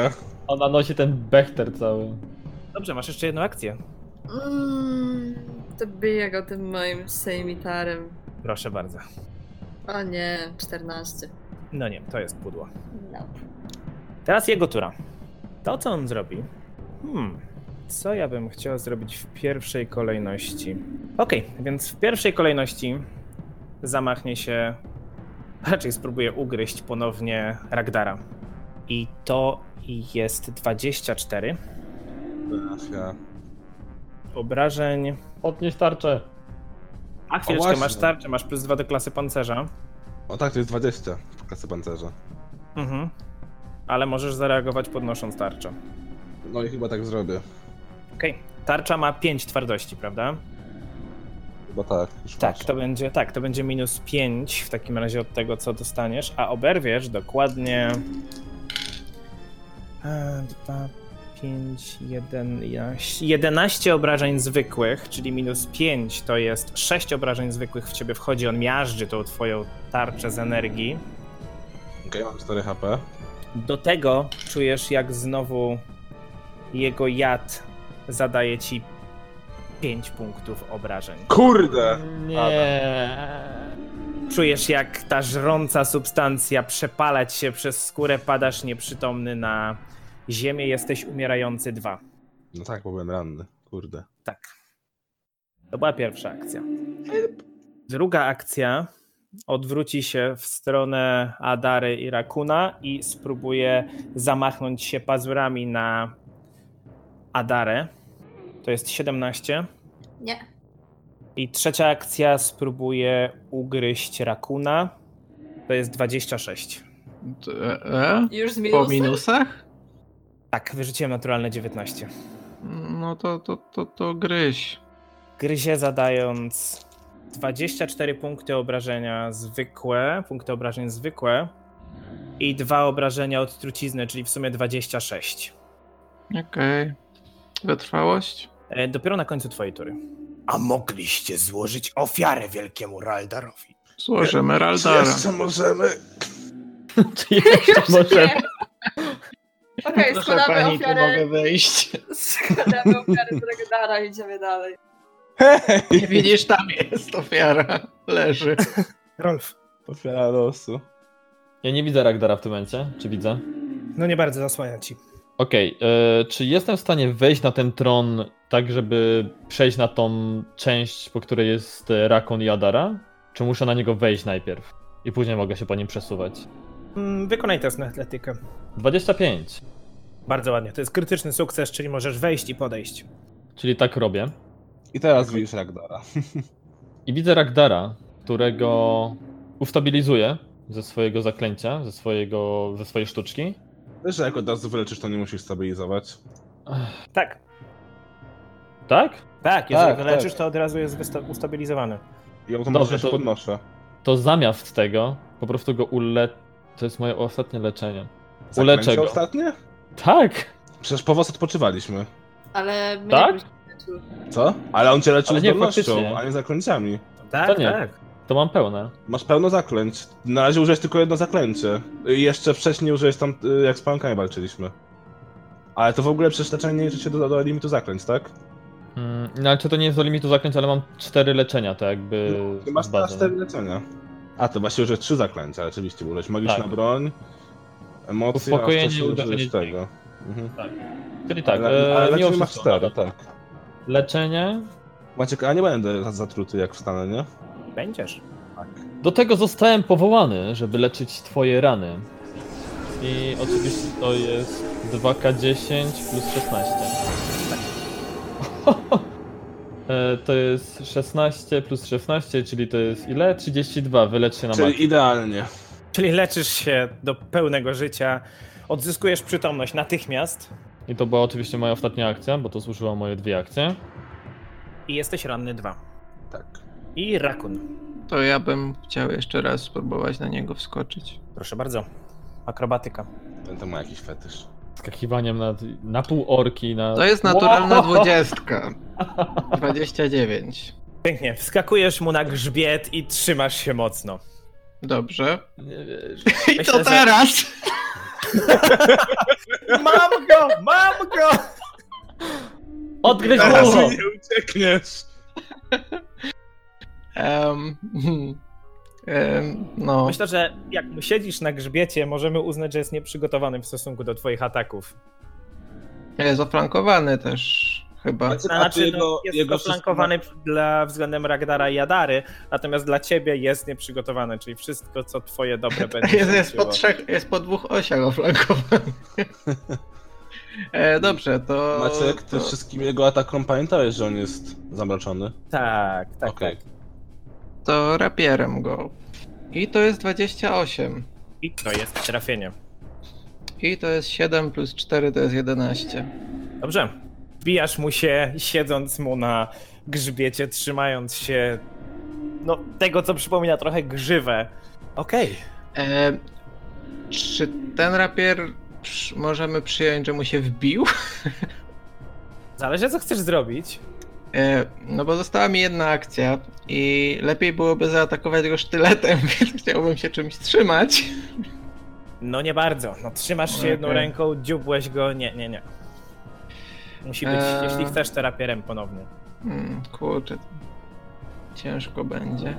ona nosi ten bechter cały. Dobrze, masz jeszcze jedną akcję. Mm, to biję go tym moim sejmitarem. Proszę bardzo. O nie, 14. No nie, to jest pudło. No. Teraz jego tura. To, co on zrobi. Hmm. Co ja bym chciał zrobić w pierwszej kolejności? Okej, więc w pierwszej kolejności zamachnie się. Raczej spróbuje ugryźć ponownie Ragdara. I to jest 24 Ach, ja. obrażeń. Odnieś tarczę. A chwileczkę, właśnie. masz tarczę, masz plus 2 do klasy pancerza. O tak, to jest 20 w klasy pancerza. Mhm. Ale możesz zareagować podnosząc tarczę. No i chyba tak zrobię. Okej. Tarcza ma 5 twardości, prawda? Chyba tak. Już Tak, patrzę. to będzie, tak, to będzie minus 5 w takim razie od tego, co dostaniesz, a oberwiesz dokładnie 2, 5, 1, 11 obrażeń zwykłych, czyli minus 5 to jest 6 obrażeń zwykłych w ciebie wchodzi, on miażdży tą twoją tarczę z energii. Okej, mam 4 HP. Do tego czujesz, jak znowu jego jad zadaje ci 5 punktów obrażeń. Kurde! Nie. Czujesz, jak ta żrąca substancja przepala ci się przez skórę, padasz nieprzytomny na ziemię, jesteś umierający dwa. No tak, bo byłem ranny. Kurde. Tak. To była pierwsza akcja. Druga akcja odwróci się w stronę Adary i Rakuna i spróbuje zamachnąć się pazurami na Adarę. To jest 17. Nie. I trzecia akcja spróbuje ugryźć Rakuna. To jest 26. D- E? Już z Po minusem? minusach? Tak, wyrzuciłem naturalne 19. No to, to, to, to gryź. Gryzie zadając 24 punkty obrażenia zwykłe, punkty obrażeń zwykłe i dwa obrażenia od trucizny, czyli w sumie 26. Okej. Wytrwałość? E, Dopiero na końcu twojej tury. A mogliście złożyć ofiarę wielkiemu Raldarowi. Złożymy Raldara. Jeszcze możemy! Czy jeszcze Już może... nie. Okej, składamy ofiarę. wejść? Składamy ofiarę z Regdara i idziemy dalej. Nie widzisz, tam jest ofiara. Leży. Rolf. Ofiara losu. Ja nie widzę Ragdara w tym momencie. Czy widzę? No nie bardzo zasłania ci. Okej, e, czy jestem w stanie wejść na ten tron tak, żeby przejść na tą część, po której jest e, Rakon i Adara? Czy muszę na niego wejść najpierw? I później mogę się po nim przesuwać. Mm, Wykonaj test na atletykę. 25, Bardzo ładnie. To jest krytyczny sukces, czyli możesz wejść i podejść. czyli tak robię. I teraz widzisz Ragdara. I widzę Ragdara, którego ustabilizuję ze swojego zaklęcia, ze, swojego, ze swojej sztuczki. Wiesz, że jak od razu wyleczysz, to nie musisz stabilizować. Ech, Tak. Tak? Tak, jeżeli Tak, wyleczysz, tak. to od razu jest wysta- ustabilizowany. I Dobrze, automatycznie się to- podnoszę. To zamiast tego, po prostu go ule... To jest moje ostatnie leczenie. Zaklęcie Uleczę go. ostatnie? Tak! Przecież po was odpoczywaliśmy. Ale mnie Tak? byś leczył. Co? Ale on cię leczył Ale nie, faktycznie. zdolnością, a nie zaklęciami. Tak, nie. tak. To mam pełne. Masz pełno zaklęć. Na razie użyłeś tylko jedno zaklęcie. I Jeszcze wcześniej użyłeś tam, y, jak z pankami walczyliśmy. Ale to w ogóle przecież leczenie nie liczy się do, do limitu zaklęć, tak? Mm, no ale czy to nie jest do limitu zaklęć, ale mam cztery leczenia, tak jakby. Ty No, masz z teraz bazy. cztery leczenia. A, to właśnie użyłeś trzy zaklęcia, rzeczywiście. Użyłeś magiczna Tak. broń, emocje, Uspokojenie, a wcześniej uderzenie użyłeś dźwięk. tego. Mhm. Czyli tak, ale, ale e, mimo leczenie masz wszystko, cztery, ale tak. Leczenie. Maciek, a nie będę za- zatruty jak wstanę, nie? Będziesz. Do tego zostałem powołany, żeby leczyć twoje rany. I oczywiście to jest 2K10 plus 16. E, To jest 16 plus 16, czyli to jest ile? 32, wylecz się na Czyli maksa. idealnie. Czyli leczysz się do pełnego życia, odzyskujesz przytomność natychmiast I to była oczywiście moja ostatnia akcja, bo to służyło moje dwie akcje. i jesteś ranny dwa. Tak. I rakun. To ja bym chciał jeszcze raz spróbować na niego wskoczyć. Proszę bardzo. Akrobatyka. Ten to ma jakiś fetysz. Skakiwaniem na, na pół orki, na... To jest naturalna Wow! dwudziestka. 29. Pięknie. Wskakujesz mu na grzbiet i trzymasz się mocno. Dobrze. Nie wiesz. I Myślę, że- teraz! Mam go! Mam go! Odgryź Teraz mu! mi nie uciekniesz! Em, hmm. Em, no, Myślę, że jak mu siedzisz na grzbiecie, możemy uznać, że jest nieprzygotowanym w stosunku do twoich ataków. jest zafrankowany też chyba. Znaczy, A a znaczy, ty no, jest jego doflankowany dla względem Ragdara i Jadary, natomiast dla ciebie jest nieprzygotowany, czyli wszystko, co twoje dobre będzie. Jest, jest, po rzuciło. trzech, jest po dwóch osiach oflankowany. E, dobrze, to... Maciek, to... ty wszystkim jego atakom pamiętałeś, że on jest zamroczony? Tak, tak, Okej. tak. to rapierem go. I to jest 28. I to jest trafienie. I to jest 7 plus 4 to jest 11. Dobrze. Wbijasz mu się, siedząc mu na grzbiecie, trzymając się no, tego, co przypomina trochę grzywę. Okej. E, czy ten rapier przy- możemy przyjąć, że mu się wbił? Zależy, co chcesz zrobić. E, no bo została mi jedna akcja i lepiej byłoby zaatakować go sztyletem, więc chciałbym się czymś trzymać. No nie bardzo. No trzymasz się Okej. jedną ręką, dziubłeś go. Nie, nie, nie. Musi być, Eee. jeśli chcesz, terapierem ponownie. Hmm, kurczę. Ciężko będzie.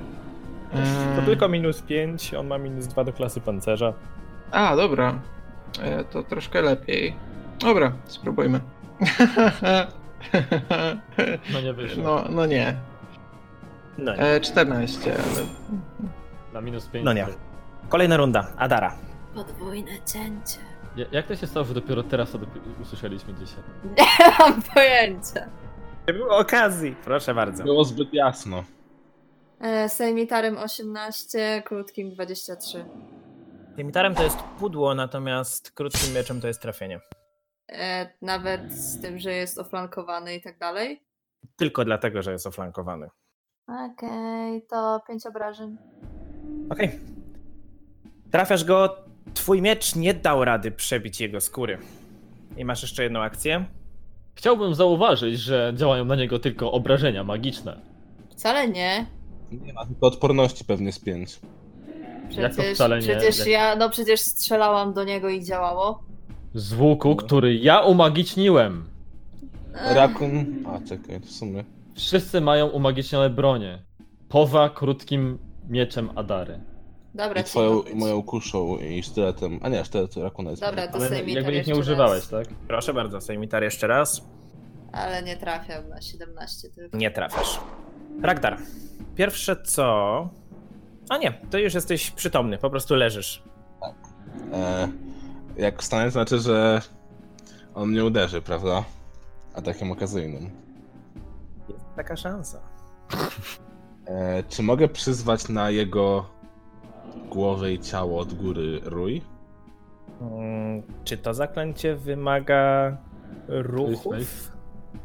To E, tylko minus 5, on ma minus 2 do klasy pancerza. A, dobra. E, to troszkę lepiej. Dobra, spróbujmy. No nie wyszło. No, no nie. No nie. E, 14, ale. Na minus 5. No nie. Kolejna runda, Adara. Podwójne cięcie. Jak to się stało, że dopiero teraz to dopi- usłyszeliśmy dzisiaj? Nie mam pojęcia. Nie było okazji. Proszę bardzo. Było zbyt jasno. E, Sejmitarem 18, krótkim 23. Tymitarem to jest pudło, natomiast krótkim mieczem to jest trafienie. E, nawet z tym, że jest oflankowany i tak dalej. Tylko dlatego, że jest oflankowany. Okej, to 5 obrażeń. Okej. Trafiasz go, twój miecz nie dał rady przebić jego skóry. I masz jeszcze jedną akcję. Chciałbym zauważyć, że działają na niego tylko obrażenia magiczne. Wcale nie. Nie ma, tylko odporności pewnie z pięć. Przecież, Jak to wcale nie? Przecież Jak- ja, no przecież strzelałam do niego i działało. Z łuku, który ja umagiczniłem. Ech, Rakun... A, czekaj, w sumie. Wszyscy mają umagicznione bronie. Powa krótkim mieczem Adary. Dobra, I twoją, cicho i być. moją kuszą i sztyletem. A nie, sztylet rakuna jest... Dobra, mniej. to Ale sejmitar jakby ich jeszcze nie raz. używałeś, tak? Proszę bardzo, Sejmitar jeszcze raz. Ale nie trafiam na 17 tylko. Nie trafiasz. Ragdar, pierwsze co... A nie, to już jesteś przytomny, po prostu leżysz. E, jak wstanę, to znaczy, że on mnie uderzy, prawda? Atakiem okazyjnym. Jest taka szansa. E, czy mogę przyzwać na jego głowę i ciało od góry rój? Mm, czy to zaklęcie wymaga ruchów? Face,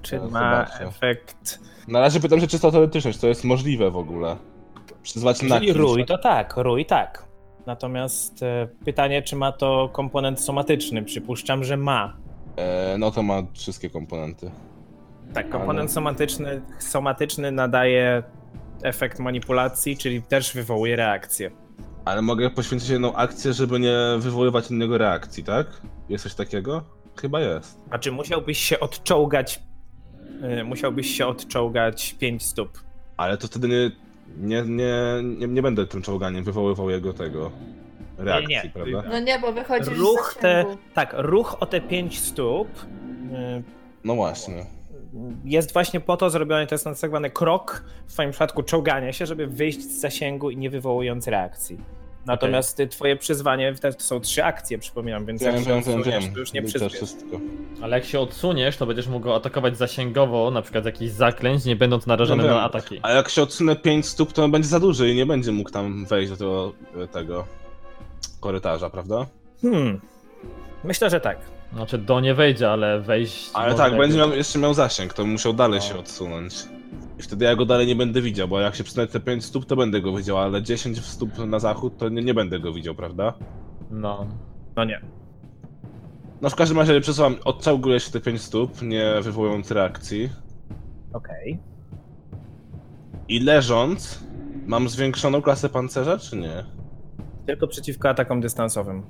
Czy Zaraz ma zobaczę. efekt... Na razie pytam się czysto teoretycznie, czy to jest możliwe w ogóle. Przyzwać na Czyli kimś. rój to tak, rój tak. Natomiast e, pytanie, czy ma to komponent somatyczny? Przypuszczam, że ma. E, no to ma wszystkie komponenty. Tak, komponent Ale- somatyczny, somatyczny nadaje efekt manipulacji, czyli też wywołuje reakcję. Ale mogę poświęcić jedną akcję, żeby nie wywoływać innego reakcji, tak? Jest coś takiego? Chyba jest. Znaczy musiałbyś się odczołgać, e, musiałbyś się odczołgać 5 stóp. Ale to wtedy nie, nie, nie, nie, nie będę tym czołganiem wywoływał jego tego reakcji, Nie, nie. prawda? No nie, bo wychodzisz Ruch z te, zasięgu. tak, ruch o te 5 stóp e, No właśnie. jest właśnie po to zrobiony, to jest tak zwany krok, w twoim przypadku czołganie się, żeby wyjść z zasięgu i nie wywołując reakcji. Natomiast ty- twoje przyzwanie, to to są trzy akcje, przypominam, więc Wiem, jak się wiem, wiem, odsuniesz, wiem. to już nie Widzę przyzwiesz. wszystko. Ale jak się odsuniesz, to będziesz mógł go atakować zasięgowo, na przykład jakiś zaklęć, nie będąc narażony No wiem. na ataki. A jak się odsunę 5 stóp, to on będzie za duży i nie będzie mógł tam wejść do tego, tego korytarza, prawda? Hmm. Myślę, że tak. Znaczy do nie wejdzie, ale wejść. Ale może tak, jakby- będzie miał, jeszcze miał zasięg, to musiał dalej No. się odsunąć. I wtedy ja go dalej nie będę widział, bo jak się przesunę 5 stóp, to będę go widział, ale 10 stóp na zachód, to nie, nie będę go widział, prawda? No. No nie. No w każdym razie przesuwam, odcałguję się te 5 stóp, nie wywołując reakcji. Okej. I leżąc, mam zwiększoną klasę pancerza, czy nie? Tylko przeciwko atakom dystansowym.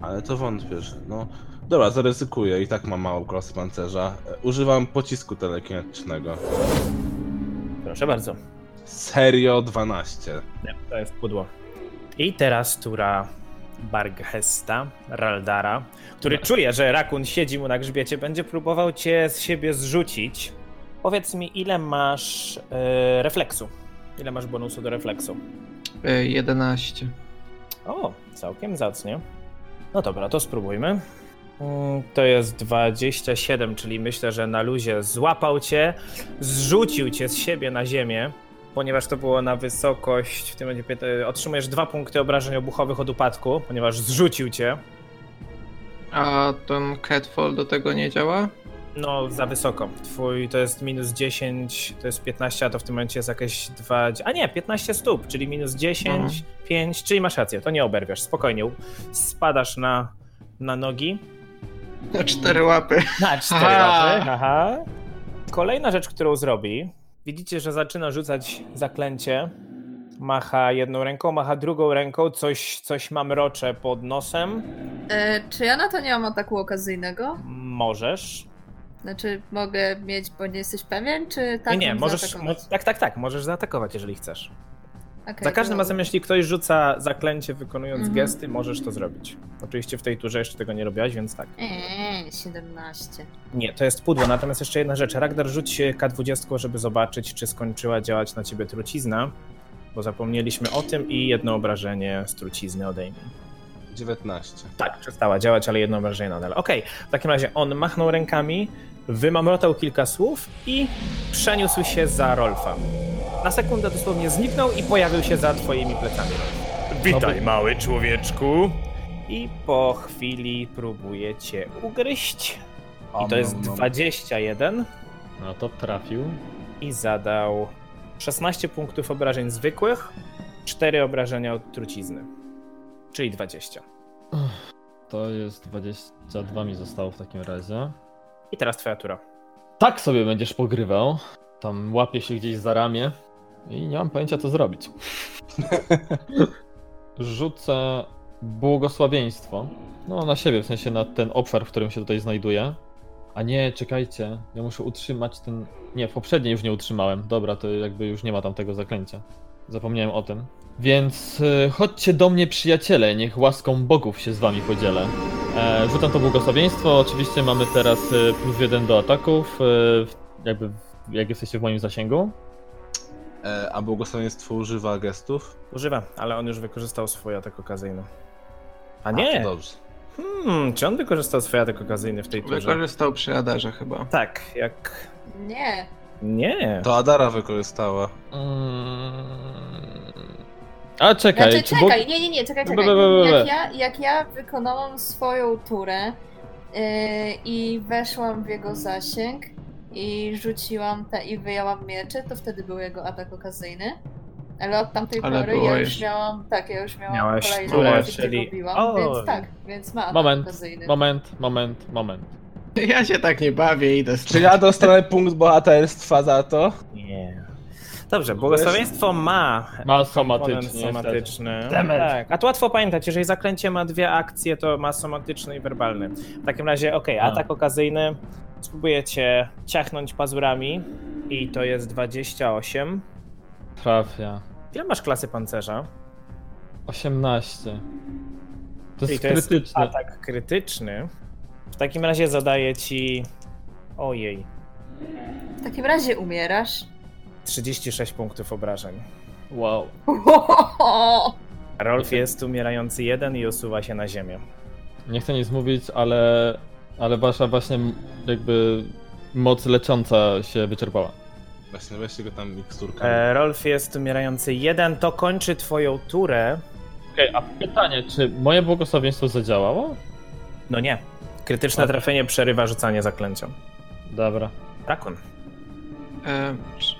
Ale to wątpię, że no... Dobra, zaryzykuję, i tak mam małą klasę pancerza. E, Używam pocisku telekinetycznego. Proszę bardzo. Serio 12. Nie, to jest pudło. I teraz tura Barghesta, Raldara, który czuje, że rakun siedzi mu na grzbiecie, będzie próbował cię z siebie zrzucić. Powiedz mi, ile masz e, refleksu? Ile masz bonusu do refleksu? E, 11. O, całkiem zacnie. No dobra, to spróbujmy. Mm, To jest 27, czyli myślę, że na luzie złapał cię, zrzucił cię z siebie na ziemię, ponieważ to było na wysokość, w tym będzie pięt- y, otrzymujesz dwa punkty obrażeń obuchowych od upadku, ponieważ zrzucił cię, A ten catfall do tego nie działa? no za wysoko. Twój to jest minus 10, to jest 15, a to w tym momencie jest jakieś 2, a nie, 15 stóp, czyli minus 10, Mhm. 5, czyli masz rację, to nie oberwiesz, spokojnie, spadasz na, na nogi. Na cztery łapy. Na cztery Aha. razy. Aha. Kolejna rzecz, którą zrobi. Widzicie, że zaczyna rzucać zaklęcie. Macha jedną ręką, macha drugą ręką, coś, coś ma mrocze pod nosem. E, czy ja na to nie mam ataku okazyjnego? Możesz. Znaczy mogę mieć, bo nie jesteś pewien, czy tak nie, nie, mam możesz. zaatakować? mo- tak, tak, tak, możesz zaatakować, jeżeli chcesz. Okej, Za każdym to- razem, jeśli ktoś rzuca zaklęcie wykonując Mhm. gesty, możesz to zrobić. Oczywiście w tej turze jeszcze tego nie robiłaś, więc tak. Eee, 17. Nie, to jest pudło. Natomiast jeszcze jedna rzecz. Ragdar, rzuć K20, żeby zobaczyć, czy skończyła działać na ciebie trucizna, bo zapomnieliśmy o tym i jedno obrażenie z trucizny odejmij. 19. Tak, przestała działać, ale jedno obrażenie nadal. Okej, w takim razie on machnął rękami, wymamrotał kilka słów i przeniósł się za Rolfa. Na sekundę dosłownie zniknął i pojawił się za twoimi plecami. Witaj, mały człowieczku. I po chwili próbuje cię ugryźć. I to jest 21 No to trafił. i zadał 16 punktów obrażeń zwykłych, 4 obrażenia od trucizny, czyli 20. To jest 22 mi zostało w takim razie. I teraz twoja tura. Tak sobie będziesz pogrywał. Tam łapię się gdzieś za ramię i nie mam pojęcia co zrobić. Rzucę błogosławieństwo. No na siebie, w sensie na ten obszar, w którym się tutaj znajduję. A nie, czekajcie, ja muszę utrzymać ten... Nie, w poprzedniej już nie utrzymałem. Dobra, to jakby już nie ma tam tego zaklęcia. Zapomniałem o tym. Więc y, chodźcie do mnie przyjaciele, niech łaską bogów się z wami podzielę. E, rzucam to błogosławieństwo. Oczywiście mamy teraz e, plus jeden do ataków. E, w- jakby, w- jak jesteście w moim zasięgu. E, a błogosławieństwo używa gestów? Używa, ale on już wykorzystał swój atak okazyjny. A A, nie! to dobrze. Hmm, czy on wykorzystał swój atak okazyjny w tej turze? Wykorzystał przy Adarze chyba. Tak, jak... Nie. Nie. To Adara wykorzystała. Mm... A czekaj, Znaczy, czy czekaj, nie, nie, nie, czekaj, Be, czekaj. be, be, be, Jak be. ja, jak ja wykonałam swoją turę yy, i weszłam w jego zasięg i rzuciłam te, i wyjęłam miecze, to wtedy był jego atak okazyjny. Ale od tamtej Ale pory było ja już już. miałam, tak, ja już miałam Miałaś kolejną turę, akcję, czyli- robiłam, Oj. więc tak, więc ma atak Moment, okazyjny. Moment, moment, moment. Ja się tak nie bawię, idę z Czy ja dostanę punkt bohaterstwa za to? Nie. Dobrze, błogosławieństwo ma Ma komponent somatycznie. niestety. somatyczny. Demet. Tak, a to łatwo pamiętać, jeżeli zaklęcie ma dwie akcje, to ma somatyczny i werbalny. W takim razie, okej, A. atak okazyjny, spróbujecie ciachnąć pazurami i to jest 28. Trafia. Ile masz klasy pancerza? 18. To Czyli jest to jest krytyczne. Atak krytyczny. W takim razie zadaję ci... Ojej, W takim razie umierasz. 36 punktów obrażeń. Wow. Rolf jest umierający jeden i usuwa się na ziemię. Nie chcę nic mówić, ale, ale wasza właśnie jakby moc lecząca się wyczerpała. Właśnie, weźcie go tam miksturka. E, Rolf jest umierający jeden, to kończy twoją turę. Okej, a pytanie, czy moje błogosławieństwo zadziałało? No nie. Krytyczne trafienie przerywa rzucanie zaklęciom. Dobra. Rakun. E, czy,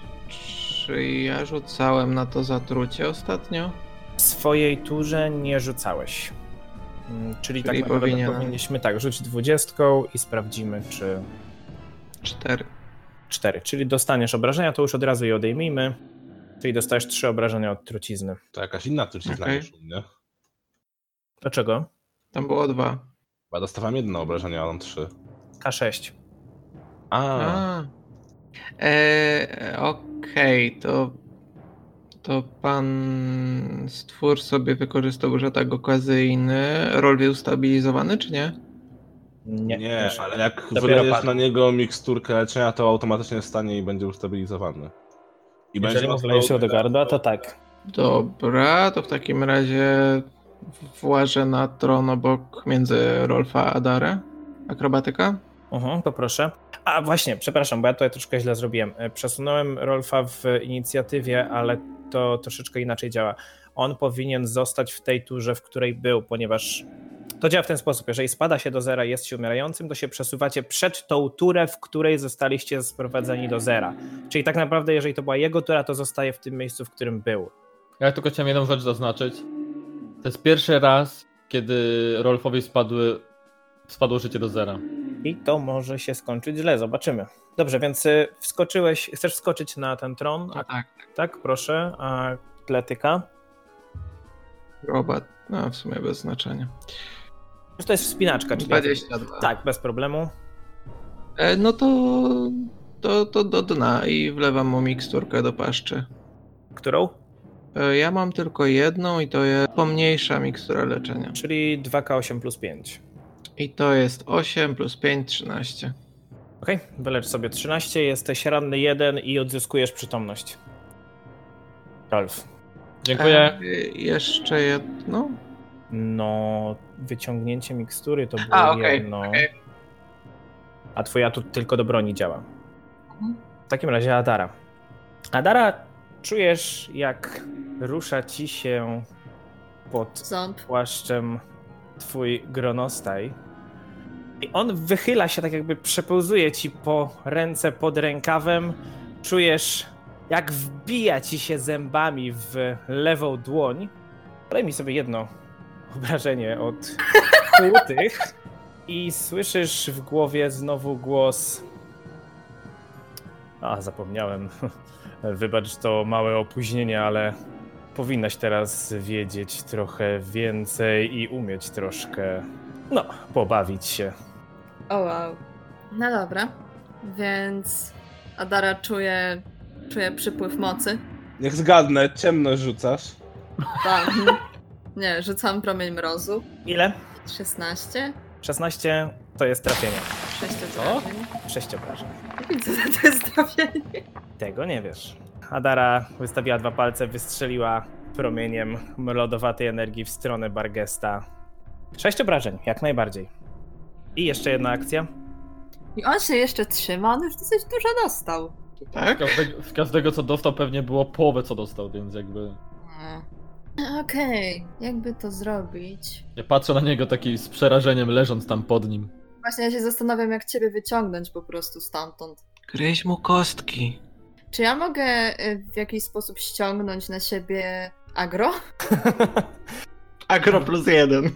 Czy ja rzucałem na to zatrucie ostatnio? W swojej turze nie rzucałeś. Mm, Czyli, Czyli tak naprawdę powinienem. powinniśmy tak rzucić dwudziestką i sprawdzimy, czy Cztery. cztery. Czyli dostaniesz obrażenia, to już od razu je odejmijmy. Czyli dostajesz trzy obrażenia od trucizny. To jakaś inna tu się Okej. znajdziesz u mnie. Dlaczego? Tam było dwa. Chyba dostawałem jedno obrażenie, a on trzy. K6. A, A. E, Okej, to. To pan stwór sobie wykorzystał już atak okazyjny. Rol był stabilizowany, czy nie? Nie, nie, też. ale jak Dopiero wylejesz padł. na niego miksturkę leczenia, to automatycznie stanie i będzie ustabilizowany. I Jeżeli mu wleje się do gardła, to tak. Dobra, to w takim razie włażę na tron obok między Rolfa a Darę. Akrobatyka? Mhm, poproszę. A właśnie, przepraszam, bo ja tutaj troszkę źle zrobiłem. E, Przesunąłem Rolfa w inicjatywie, ale to troszeczkę inaczej działa. On powinien zostać w tej turze, w której był, ponieważ to działa w ten sposób. Jeżeli spada się do zera i jest się umierającym, to się przesuwacie przed tą turę, w której zostaliście sprowadzeni do zera. Czyli tak naprawdę, jeżeli to była jego tura, to zostaje w tym miejscu, w którym był. Ja tylko chciałem jedną rzecz zaznaczyć. To jest pierwszy raz, kiedy Rolfowi spadły, spadło życie do zera. I to może się skończyć źle, zobaczymy. Dobrze, więc y, wskoczyłeś, chcesz wskoczyć na ten tron, a tak. Tak, proszę. A atletyka. Robot. No, w sumie bez znaczenia. To jest wspinaczka, Znaczy, czyli. 22. Tak, bez problemu. E, no to, to, to do dna i wlewam mu miksturkę do paszczy. Którą? E, ja mam tylko jedną i to jest pomniejsza mikstura leczenia. Czyli 2K8 plus 5. I to jest 8 plus 5, 13. Okej, wylecz sobie 13, jesteś ranny 1 i odzyskujesz przytomność. Rolf. Dziękuję. E, jeszcze jedno? No, wyciągnięcie mikstury to było A, okej, jedno. okej. A twój atut tylko do broni działa. Mhm. W takim razie Adara. Adara, czujesz jak rusza ci się pod Ząb. płaszczem twój gronostaj. I on wychyla się, tak jakby przepełzuje ci po ręce pod rękawem. Czujesz, jak wbija ci się zębami w lewą dłoń. Daj mi sobie jedno obrażenie od kłutych. I słyszysz w głowie znowu głos. A, zapomniałem. Wybacz to małe opóźnienie, ale powinnaś teraz wiedzieć trochę więcej i umieć troszkę, no, pobawić się. O wow. No dobra. Więc Adara czuje, czuje przypływ mocy. Niech zgadnę, ciemność rzucasz. Tak. Nie, rzucam promień mrozu. Ile? 16. 16 to jest trafienie. 6 Co? obrażeń. 6 obrażeń. Widzę, że to jest trafienie. Tego nie wiesz. Adara wystawiła dwa palce, wystrzeliła promieniem lodowatej energii w stronę Bargesta. 6 obrażeń, jak najbardziej. I jeszcze jedna akcja. I on się jeszcze trzyma, on już dosyć dużo dostał. Tak? Każdego, z każdego co dostał pewnie było połowę co dostał, więc jakby... Mm. Okej, jakby to zrobić? Ja patrzę na niego taki z przerażeniem leżąc tam pod nim. Właśnie ja się zastanawiam, jak ciebie wyciągnąć po prostu stamtąd. Gryź mu kostki. Czy ja mogę y, w jakiś sposób ściągnąć na siebie agro? Agro plus jeden.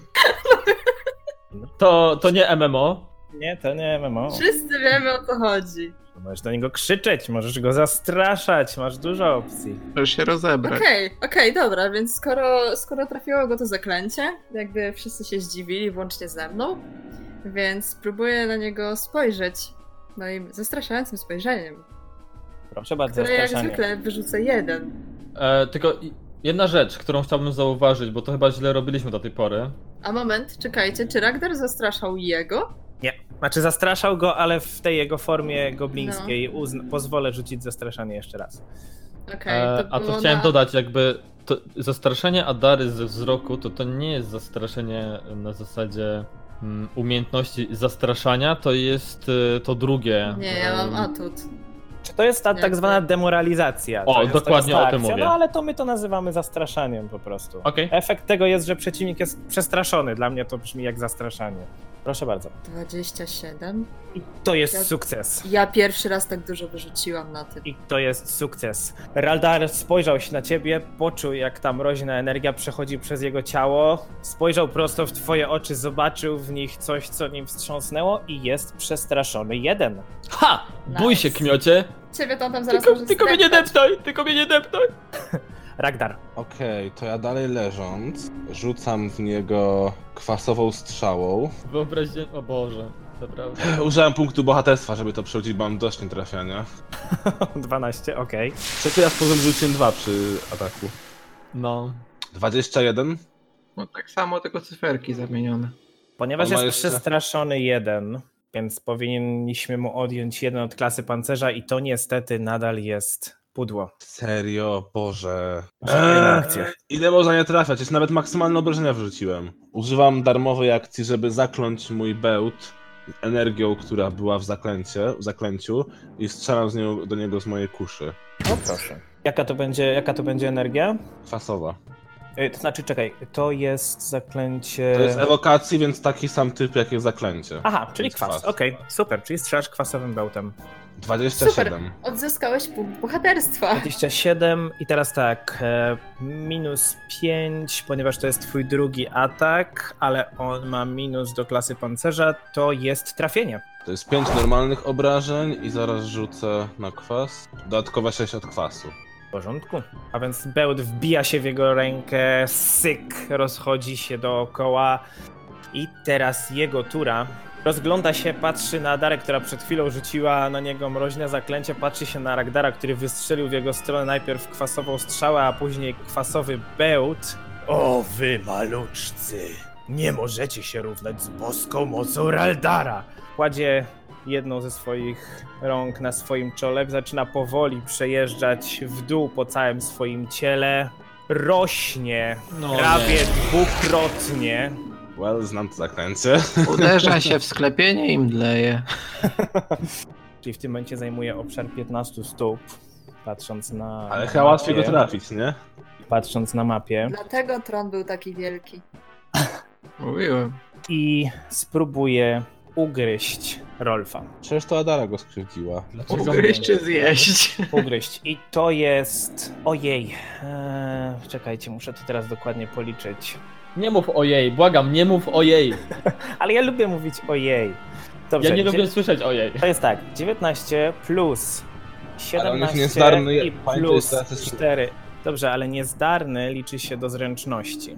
To, to nie MMO. nie, to nie MMO. Wszyscy wiemy o co chodzi. Możesz do niego krzyczeć, możesz go zastraszać, masz dużo opcji. Możesz się rozebrać. Okej, okej, dobra, więc skoro, skoro trafiło go to zaklęcie, jakby wszyscy się zdziwili, włącznie ze mną, więc spróbuję na niego spojrzeć moim zastraszającym spojrzeniem, Proszę bardzo, które jak zastraszanie. zwykle wyrzucę jeden. E, tylko i- jedna rzecz, którą chciałbym zauważyć, bo to chyba źle robiliśmy do tej pory. A moment, czekajcie, czy Ragnar zastraszał jego? Znaczy zastraszał go, ale w tej jego formie goblińskiej uzn- pozwolę rzucić zastraszanie jeszcze raz. Okej, E, to a to było chciałem na... dodać, jakby to, zastraszenie Adary ze wzroku to to nie jest zastraszenie na zasadzie mm, umiejętności zastraszania, to jest e, to drugie. Nie, ja mam em, atut. Czy to jest ta tak Jakby- zwana demoralizacja? O, to jest, dokładnie to jest ta o tym akcja, mówię. No ale to my to nazywamy zastraszaniem po prostu. Okej. Efekt tego jest, że przeciwnik jest przestraszony. Dla mnie to brzmi jak zastraszanie. Proszę bardzo. 27. To jest Ja- sukces. Ja pierwszy raz tak dużo wyrzuciłam na tym. I to jest sukces. Raldar spojrzał się na ciebie, poczuł jak ta mroźna energia przechodzi przez jego ciało, spojrzał prosto w twoje oczy, zobaczył w nich coś, co nim wstrząsnęło i jest przestraszony. Jeden. Ha! Bój Nice. się, kmiocie! Ciebie to tam zaraz Tylko, może tylko mnie nie zdeptać. deptaj! Tylko mnie nie deptaj! Ragdar. Okej, to ja dalej leżąc rzucam w niego kwasową strzałą. Wyobraźcie... O Boże, naprawdę. Użyłem punktu bohaterstwa, żeby to przerzucić, bo mam dość nietrafiania. 12, okej. Trzeci raz powiem, że rzuciłem dwa przy ataku. No. 21? No tak samo, tylko cyferki zamienione. Ponieważ On ma jest jeszcze- przestraszony jeden, więc powinniśmy mu odjąć jeden od klasy pancerza i to niestety nadal jest pudło. Serio, Boże. Eee, Żadnej reakcji. ile można nie trafiać? Jest nawet maksymalne obrażenia wrzuciłem. Używam darmowej akcji, żeby zakląć mój bełt energią, która była w, zaklęcie, w zaklęciu i strzelam z nią, do niego z mojej kuszy. No proszę. Jaka to będzie, jaka to będzie energia? Kwasowa. Ej, To znaczy, czekaj, to jest zaklęcie... To jest ewokacji, więc taki sam typ jak jest zaklęcie. Aha, czyli Jest kwas. kwas. Okej, super, czyli strzelasz kwasowym bełtem. 27. Odzyskałeś punkt bohaterstwa. 27 i teraz tak, e, minus 5, ponieważ to jest twój drugi atak, ale on ma minus do klasy pancerza, to jest trafienie. To jest 5 normalnych obrażeń i zaraz rzucę na kwas. Dodatkowe 6 od kwasu. W porządku. A więc bełt wbija się w jego rękę, syk rozchodzi się dookoła i teraz jego tura. Rozgląda się, patrzy na Darę, która przed chwilą rzuciła na niego mroźne zaklęcie, patrzy się na Ragdara, który wystrzelił w jego stronę najpierw kwasową strzałę, a później kwasowy bełt. O wy maluczcy! Nie możecie się równać z boską mocą Raldara! Kładzie jedną ze swoich rąk na swoim czole, zaczyna powoli przejeżdżać w dół po całym swoim ciele. Rośnie No prawie dwukrotnie. Well, znam to zaklęcie. Uderza się w sklepienie i mdleje. Czyli w tym momencie zajmuje obszar 15 stóp, patrząc na. Ale na chyba łatwiej go mapie, trafić, nie? Patrząc na mapie. Dlatego tron był taki wielki. Mówiłem. I spróbuje ugryźć Rolfa. Przecież to Adara go skrzywdziła. Ugryźć czy zjeść? Ugryźć. I to jest. Ojej. Eee, czekajcie, muszę to teraz dokładnie policzyć. Nie mów ojej, błagam, nie mów ojej. Ale ja lubię mówić ojej. Dobrze, Ja nie dziew- lubię słyszeć ojej. To jest tak. 19 plus Ale on 17 jest niezdarny, i pamiętaj, plus teraz jest- 4. Dobrze, ale niezdarny liczy się do zręczności.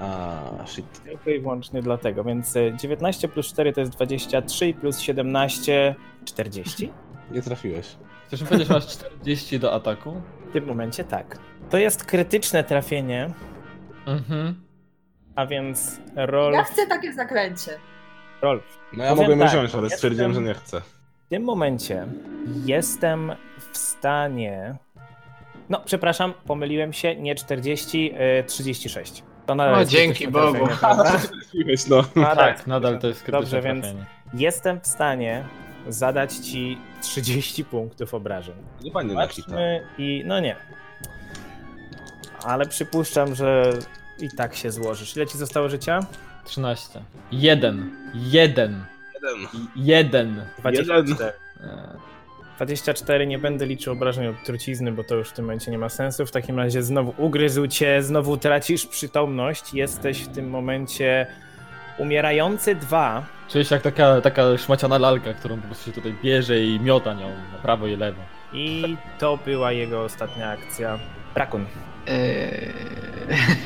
A, shit. Tylko i wyłącznie dlatego, więc y, 19 plus 4 to jest 23, plus 17 40. Nie trafiłeś. Chcesz mi powiedzieć, że masz 40 do ataku? W tym momencie tak. To jest krytyczne trafienie, Mhm. a więc rol. Ja chcę takie zaklęcie. rol. No ja Powiem mogłem tak, ją wziąć, ale jestem- stwierdziłem, że nie chcę. W tym momencie jestem w stanie. No, przepraszam, pomyliłem się, nie 40, y, 36. To nadal O, jest No, dzięki krytyczne Bogu. trafienie, prawda? Trafiłeś, no. Nadal Tak, jest nadal to jest krytyczne Dobrze, więc trafienie. jestem w stanie zadać ci 30 punktów obrażeń. Nie pani Nakita. Patrzmy i no nie. Ale przypuszczam, że i tak się złożysz. Ile ci zostało życia? 13. Jeden. Jeden. Jeden. Jeden. 24. Eee, 24 nie będę liczył obrażeń od trucizny, bo to już w tym momencie nie ma sensu. W takim razie znowu ugryzł cię, znowu tracisz przytomność. Jesteś w tym momencie umierający dwa. Czujesz jak taka, taka szmaciana lalka, którą po prostu się tutaj bierze i miota nią na prawo i lewo. I to była jego ostatnia akcja. Brakun. Eee,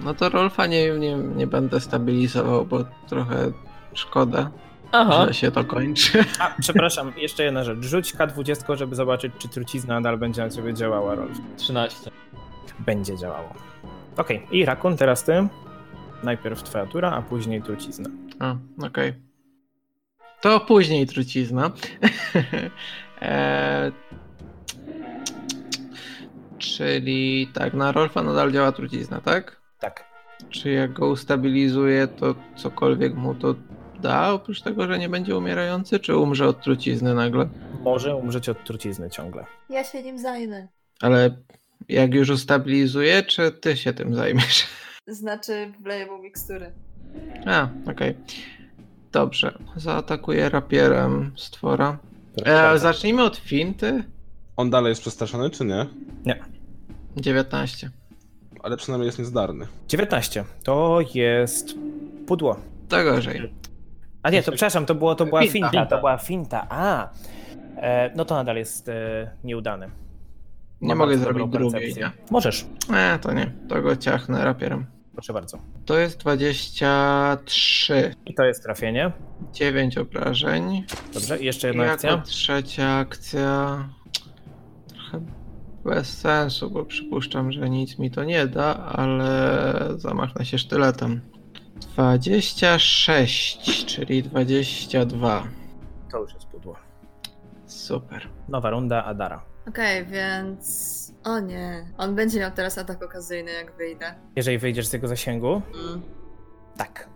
No to Rolfa nie, nie, nie będę stabilizował, bo trochę szkoda, Aha. że się to kończy. A, przepraszam, jeszcze jedna rzecz. Rzuć K20, żeby zobaczyć, czy trucizna nadal będzie na ciebie działała, Rolf. 13. będzie działało. Okej, i Rakun, teraz ty. Najpierw twoja tura, a później trucizna. A, okej. To później trucizna. Eee, Czyli tak, na Rolfa nadal działa trucizna, tak? Tak. Czy jak go ustabilizuje, to cokolwiek mu to da, oprócz tego, że nie będzie umierający, czy umrze od trucizny nagle? Może umrzeć od trucizny ciągle. Ja się nim zajmę. Ale jak już ustabilizuje, czy ty się tym zajmiesz? Znaczy, wleję mu miksturę. A, okej. Dobrze, zaatakuję rapierem stwora. Prawda. E, zacznijmy od finty. On dalej jest przestraszony, czy nie? 19. Ale przynajmniej jest niezdarny. 19. To jest pudło. To gorzej. A nie, to przepraszam, to, było, to była Finta. finta. To była finta. A. E, no to nadal jest e, nieudane. Ma Nie mogę bardzo zrobić dobrą drugiej, percepcję. nie? Możesz. E, to nie. To go ciachnę rapierem. Proszę bardzo. To jest 23. I to jest trafienie. 9 obrażeń. Dobrze, i jeszcze I jedna jako akcja. trzecia akcja. Trochę bez sensu, bo przypuszczam, że nic mi to nie da, ale zamachnę się sztyletem. 26, czyli 22. To już jest pudło. Super. Nowa runda Adara. Okej, więc... O nie. On będzie miał teraz atak okazyjny, jak wyjdę. Mm. Jeżeli wyjdziesz z jego zasięgu, tak,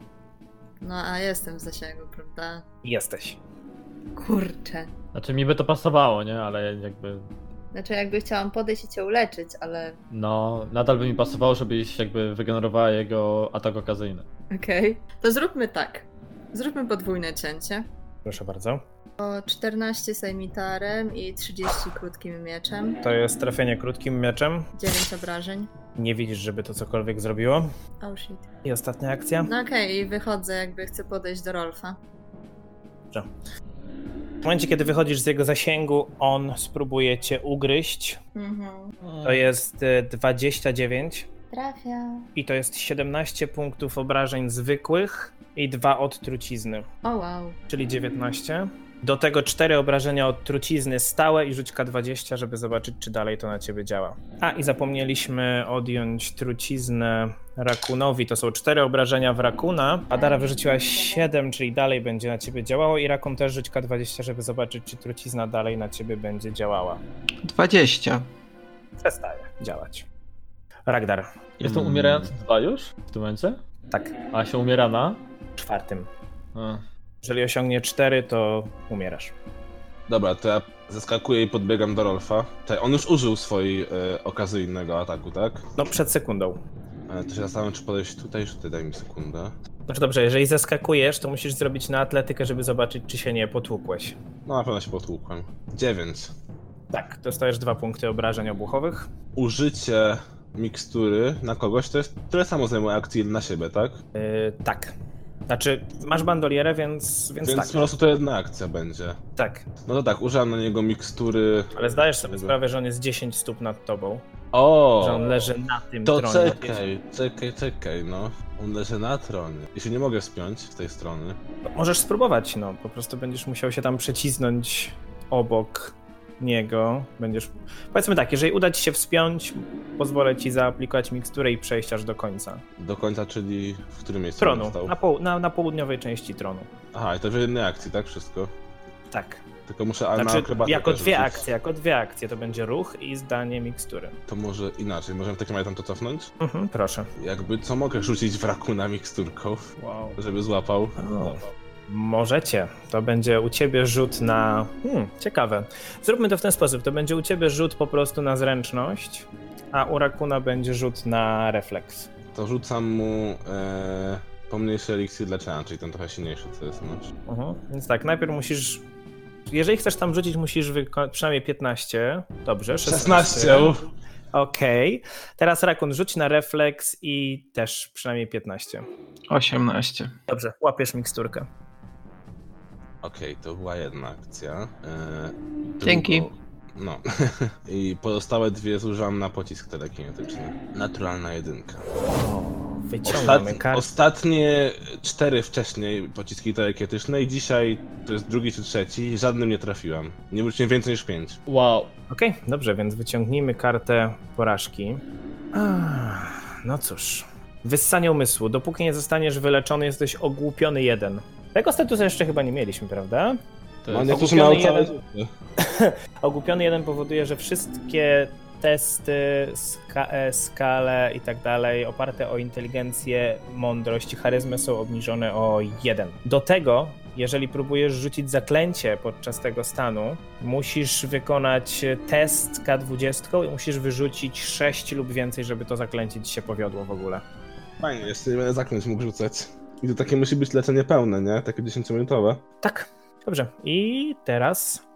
No a jestem w zasięgu, prawda? jesteś. Kurczę. Znaczy mi by to pasowało, nie? Ale jakby. Znaczy jakby chciałam podejść i cię uleczyć, ale No, nadal by mi pasowało, żebyś jakby wygenerowała jego atak okazyjny. okej. To zróbmy tak. Zróbmy podwójne cięcie. Proszę bardzo. O 14 sejmitarem i 30 krótkim mieczem. To jest trafienie krótkim mieczem. 9 obrażeń. Nie widzisz, żeby to cokolwiek zrobiło. Oh shit. I ostatnia akcja. No okej, i wychodzę jakby chcę podejść do Rolfa. W momencie, kiedy wychodzisz z jego zasięgu, on spróbuje cię ugryźć. Mhm. To jest e, 29 Trafia. i to jest 17 punktów obrażeń zwykłych i 2 od trucizny, O wow. czyli 19. Do tego 4 obrażenia od trucizny stałe i rzuć K20, żeby zobaczyć, czy dalej to na ciebie działa. A i zapomnieliśmy odjąć truciznę rakunowi. To są 4 obrażenia w rakuna. Adara wyrzuciła 7, czyli dalej będzie na ciebie działało. I rakun też rzuć K20, żeby zobaczyć, czy trucizna dalej na ciebie będzie działała. 20. przestaje działać. Ragdar, Jest to Mm. umierający dwa już w tym momencie? tak, A się umiera na? E, czwartym. A. Jeżeli osiągnie cztery, to umierasz. Dobra, to ja zeskakuję i podbiegam do Rolfa. Czekaj, on już użył swojej e, okazyjnego ataku, tak? No, przed sekundą. E, to się zastanawiam, czy podejść tutaj, czy tutaj, daj mi sekundę. Znaczy dobrze, jeżeli zeskakujesz, to musisz zrobić na atletykę, żeby zobaczyć, czy się nie potłukłeś. No na pewno się potłukłem. 9. Tak, dostajesz dwa punkty obrażeń obuchowych. Użycie mikstury na kogoś to jest tyle samo zajmuje akcji na siebie, tak? Yy, tak. Znaczy, masz bandolierę, więc, więc, Więc no- po tak. prostu to jedna akcja będzie. Tak, No to tak, użyłem na niego mikstury. ale zdajesz sobie sprawę, że on jest 10 stóp nad tobą, O! że on leży na tym To tronie. czekaj, czekaj, czekaj, no. On leży na tronie. Jeśli nie mogę spiąć z tej strony. Możesz spróbować, no. Po prostu będziesz musiał się tam przecisnąć obok niego. Będziesz. Powiedzmy tak, jeżeli uda ci się wspiąć, pozwolę ci zaaplikować miksturę i przejść aż do końca. Do końca, czyli w którym miejscu on Tronu. stał? Na, poł- na, na południowej części tronu. Aha, i to w jednej akcji, tak? Wszystko. Tak. Tylko muszę a na Znaczy, akrobatykę jako rzucić. dwie akcje, jako dwie akcje to będzie ruch i zdanie mikstury. To może inaczej, możemy w takim razie tam to cofnąć? Mhm, proszę. Jakby co mogę rzucić w rakuna miksturką, Wow. żeby złapał? Możecie. To będzie u ciebie rzut na. Hmm, ciekawe. Zróbmy to w ten sposób. To będzie u ciebie rzut po prostu na zręczność, a u Rakuna będzie rzut na refleks. To rzucam mu e, pomniejszy eliksir dla Chana, czyli ten trochę silniejszy, co jest masz. Mhm. Więc tak, najpierw musisz. Jeżeli chcesz tam rzucić, musisz wykonać przynajmniej 15. Dobrze, 16. Okej. Teraz Rakun rzuć na refleks i też przynajmniej 15. 18. Dobrze, łapiesz miksturkę. Okej, to była jedna akcja. E, Dzięki. drugą- No. I pozostałe dwie zużyłam na pocisk telekinetyczny. Naturalna jedynka. Wyciągamy Ostat- kartę. Ostatnie cztery wcześniej pociski telekinetyczne i dzisiaj to jest drugi czy trzeci, żadnym nie trafiłam. Nie wróciłem więcej niż pięć. Wow. Okej, dobrze, więc wyciągnijmy kartę porażki. Ah, No cóż. Wyssanie umysłu. Dopóki nie zostaniesz wyleczony, jesteś ogłupiony jeden. Tego statusu jeszcze chyba nie mieliśmy, prawda? To No jest... nie to, że miał ogłupiony całe jeden. Ogłupiony jeden powoduje, że wszystkie testy, ska- e, skale i tak dalej, oparte o inteligencję, mądrość i charyzmę są obniżone o jeden. Do tego, jeżeli próbujesz rzucić zaklęcie podczas tego stanu, musisz wykonać test K20 i musisz wyrzucić 6 lub więcej, żeby to zaklęcie ci się powiodło w ogóle. Fajnie, jeszcze nie będę zaklęć mógł rzucać. I to takie musi być leczenie pełne, nie? Takie 10-minutowe. Tak, dobrze. I teraz.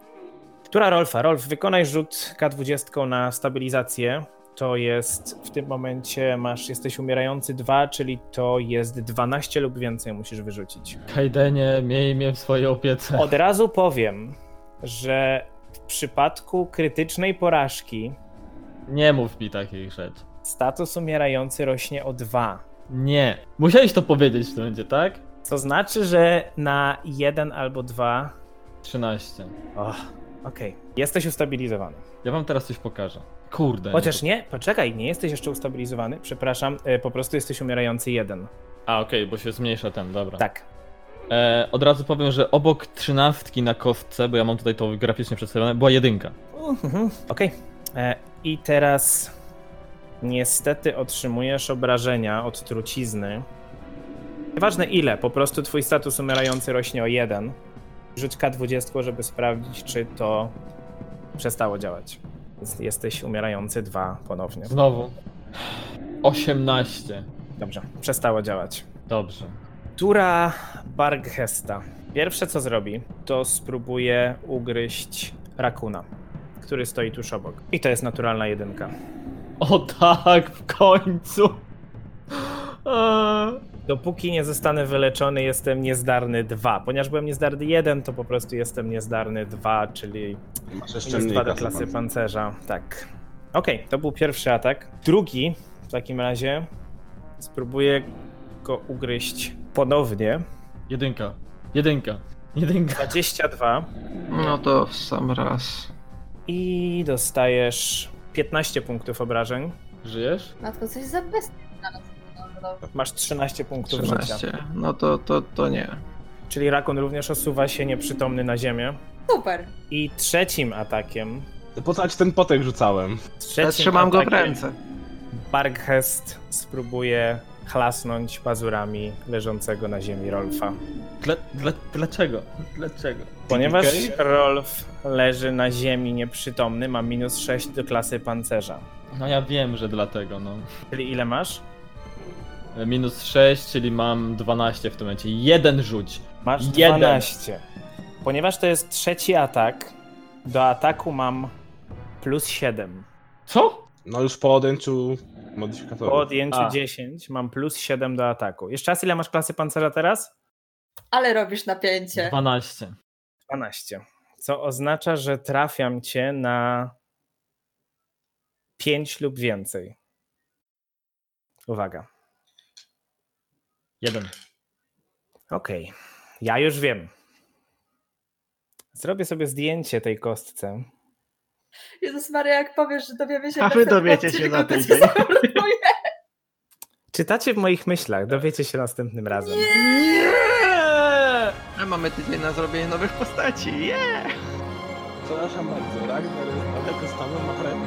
Która Rolfa? Rolf, wykonaj rzut K20 na stabilizację. To jest w tym momencie masz, jesteś umierający 2, czyli to jest 12 lub więcej musisz wyrzucić. Kajdenie, miej mnie w swojej opiece. Od razu powiem, że w przypadku krytycznej porażki Nie mów mi takich rzeczy. status umierający rośnie o 2. Nie. Musiałeś to powiedzieć w tym będzie, tak? Co znaczy, że na 1 albo 2. 13. Och, okej. Jesteś ustabilizowany. Ja wam teraz coś pokażę. Kurde. Chociaż nie, poczekaj, nie jesteś jeszcze ustabilizowany, przepraszam, e, po prostu jesteś umierający jeden. A, okej, bo się zmniejsza ten, dobra. Tak. E, od razu powiem, że obok trzynastki na kostce, bo ja mam tutaj to graficznie przedstawione, była jedynka. Mhm, Okej. E, I teraz niestety otrzymujesz obrażenia od trucizny. Nieważne ile, po prostu twój status umierający rośnie o jeden. Rzuć K20, żeby sprawdzić, czy to przestało działać. Więc Jesteś umierający dwa ponownie. Znowu. 18. Dobrze, przestało działać. Dobrze. Tura Barghesta. Pierwsze co zrobi, to spróbuje ugryźć rakuna, który stoi tuż obok. I to jest naturalna jedynka. O tak, w końcu. Eee. Dopóki nie zostanę wyleczony, jestem niezdarny 2. Ponieważ byłem niezdarny 1, to po prostu jestem niezdarny 2, czyli Masz jeszcze minus mniej 2 do kasy, klasy pan. pancerza. Tak. Okej, to był pierwszy atak. Drugi w takim razie spróbuję go ugryźć ponownie. Jedynka. Jedynka. Jedynka. 22. No to w sam raz. I dostajesz 15 punktów obrażeń. Żyjesz? Matko, coś za bestia znalazłem. No, no, Masz 13 punktów życia. 13. No to, to, to nie. Czyli Rakun również osuwa się nieprzytomny na ziemię. Super. I trzecim atakiem. To po co ja ci ten potek rzucałem? Trzecim Zatrzymam go w atakiem ręce. Barghest spróbuje chlasnąć pazurami leżącego na ziemi Rolfa. Dla, dla, dlaczego? Dlaczego? Ponieważ Rolf leży na ziemi nieprzytomny, ma minus 6 do klasy pancerza. No ja wiem, że dlatego, no. E, Czyli ile masz? Minus 6, czyli mam 12 w tym momencie. Jeden rzuć. Masz Jeden. 12. Ponieważ to jest trzeci atak, do ataku mam plus 7. Co? No już po odjęciu modyfikatorów. Po odjęciu A. 10 mam plus 7 do ataku. Jeszcze raz, ile masz klasy pancerza teraz? Ale robisz napięcie. 12. 12. Co oznacza, że trafiam cię na 5 lub więcej. Uwaga. Jeden. Okej. Ja już wiem. Zrobię sobie zdjęcie tej kostce. Jezus Maria, jak powiesz, że dowiemy się A na wy tym dowiecie się odcinku, na to ten cię dzień. zamorduję. Czytacie w moich myślach, dowiecie się następnym razem. A mamy tydzień na zrobienie nowych postaci. Yeah! Przepraszam bardzo, Ragnar jest daleko stanu, ma prawie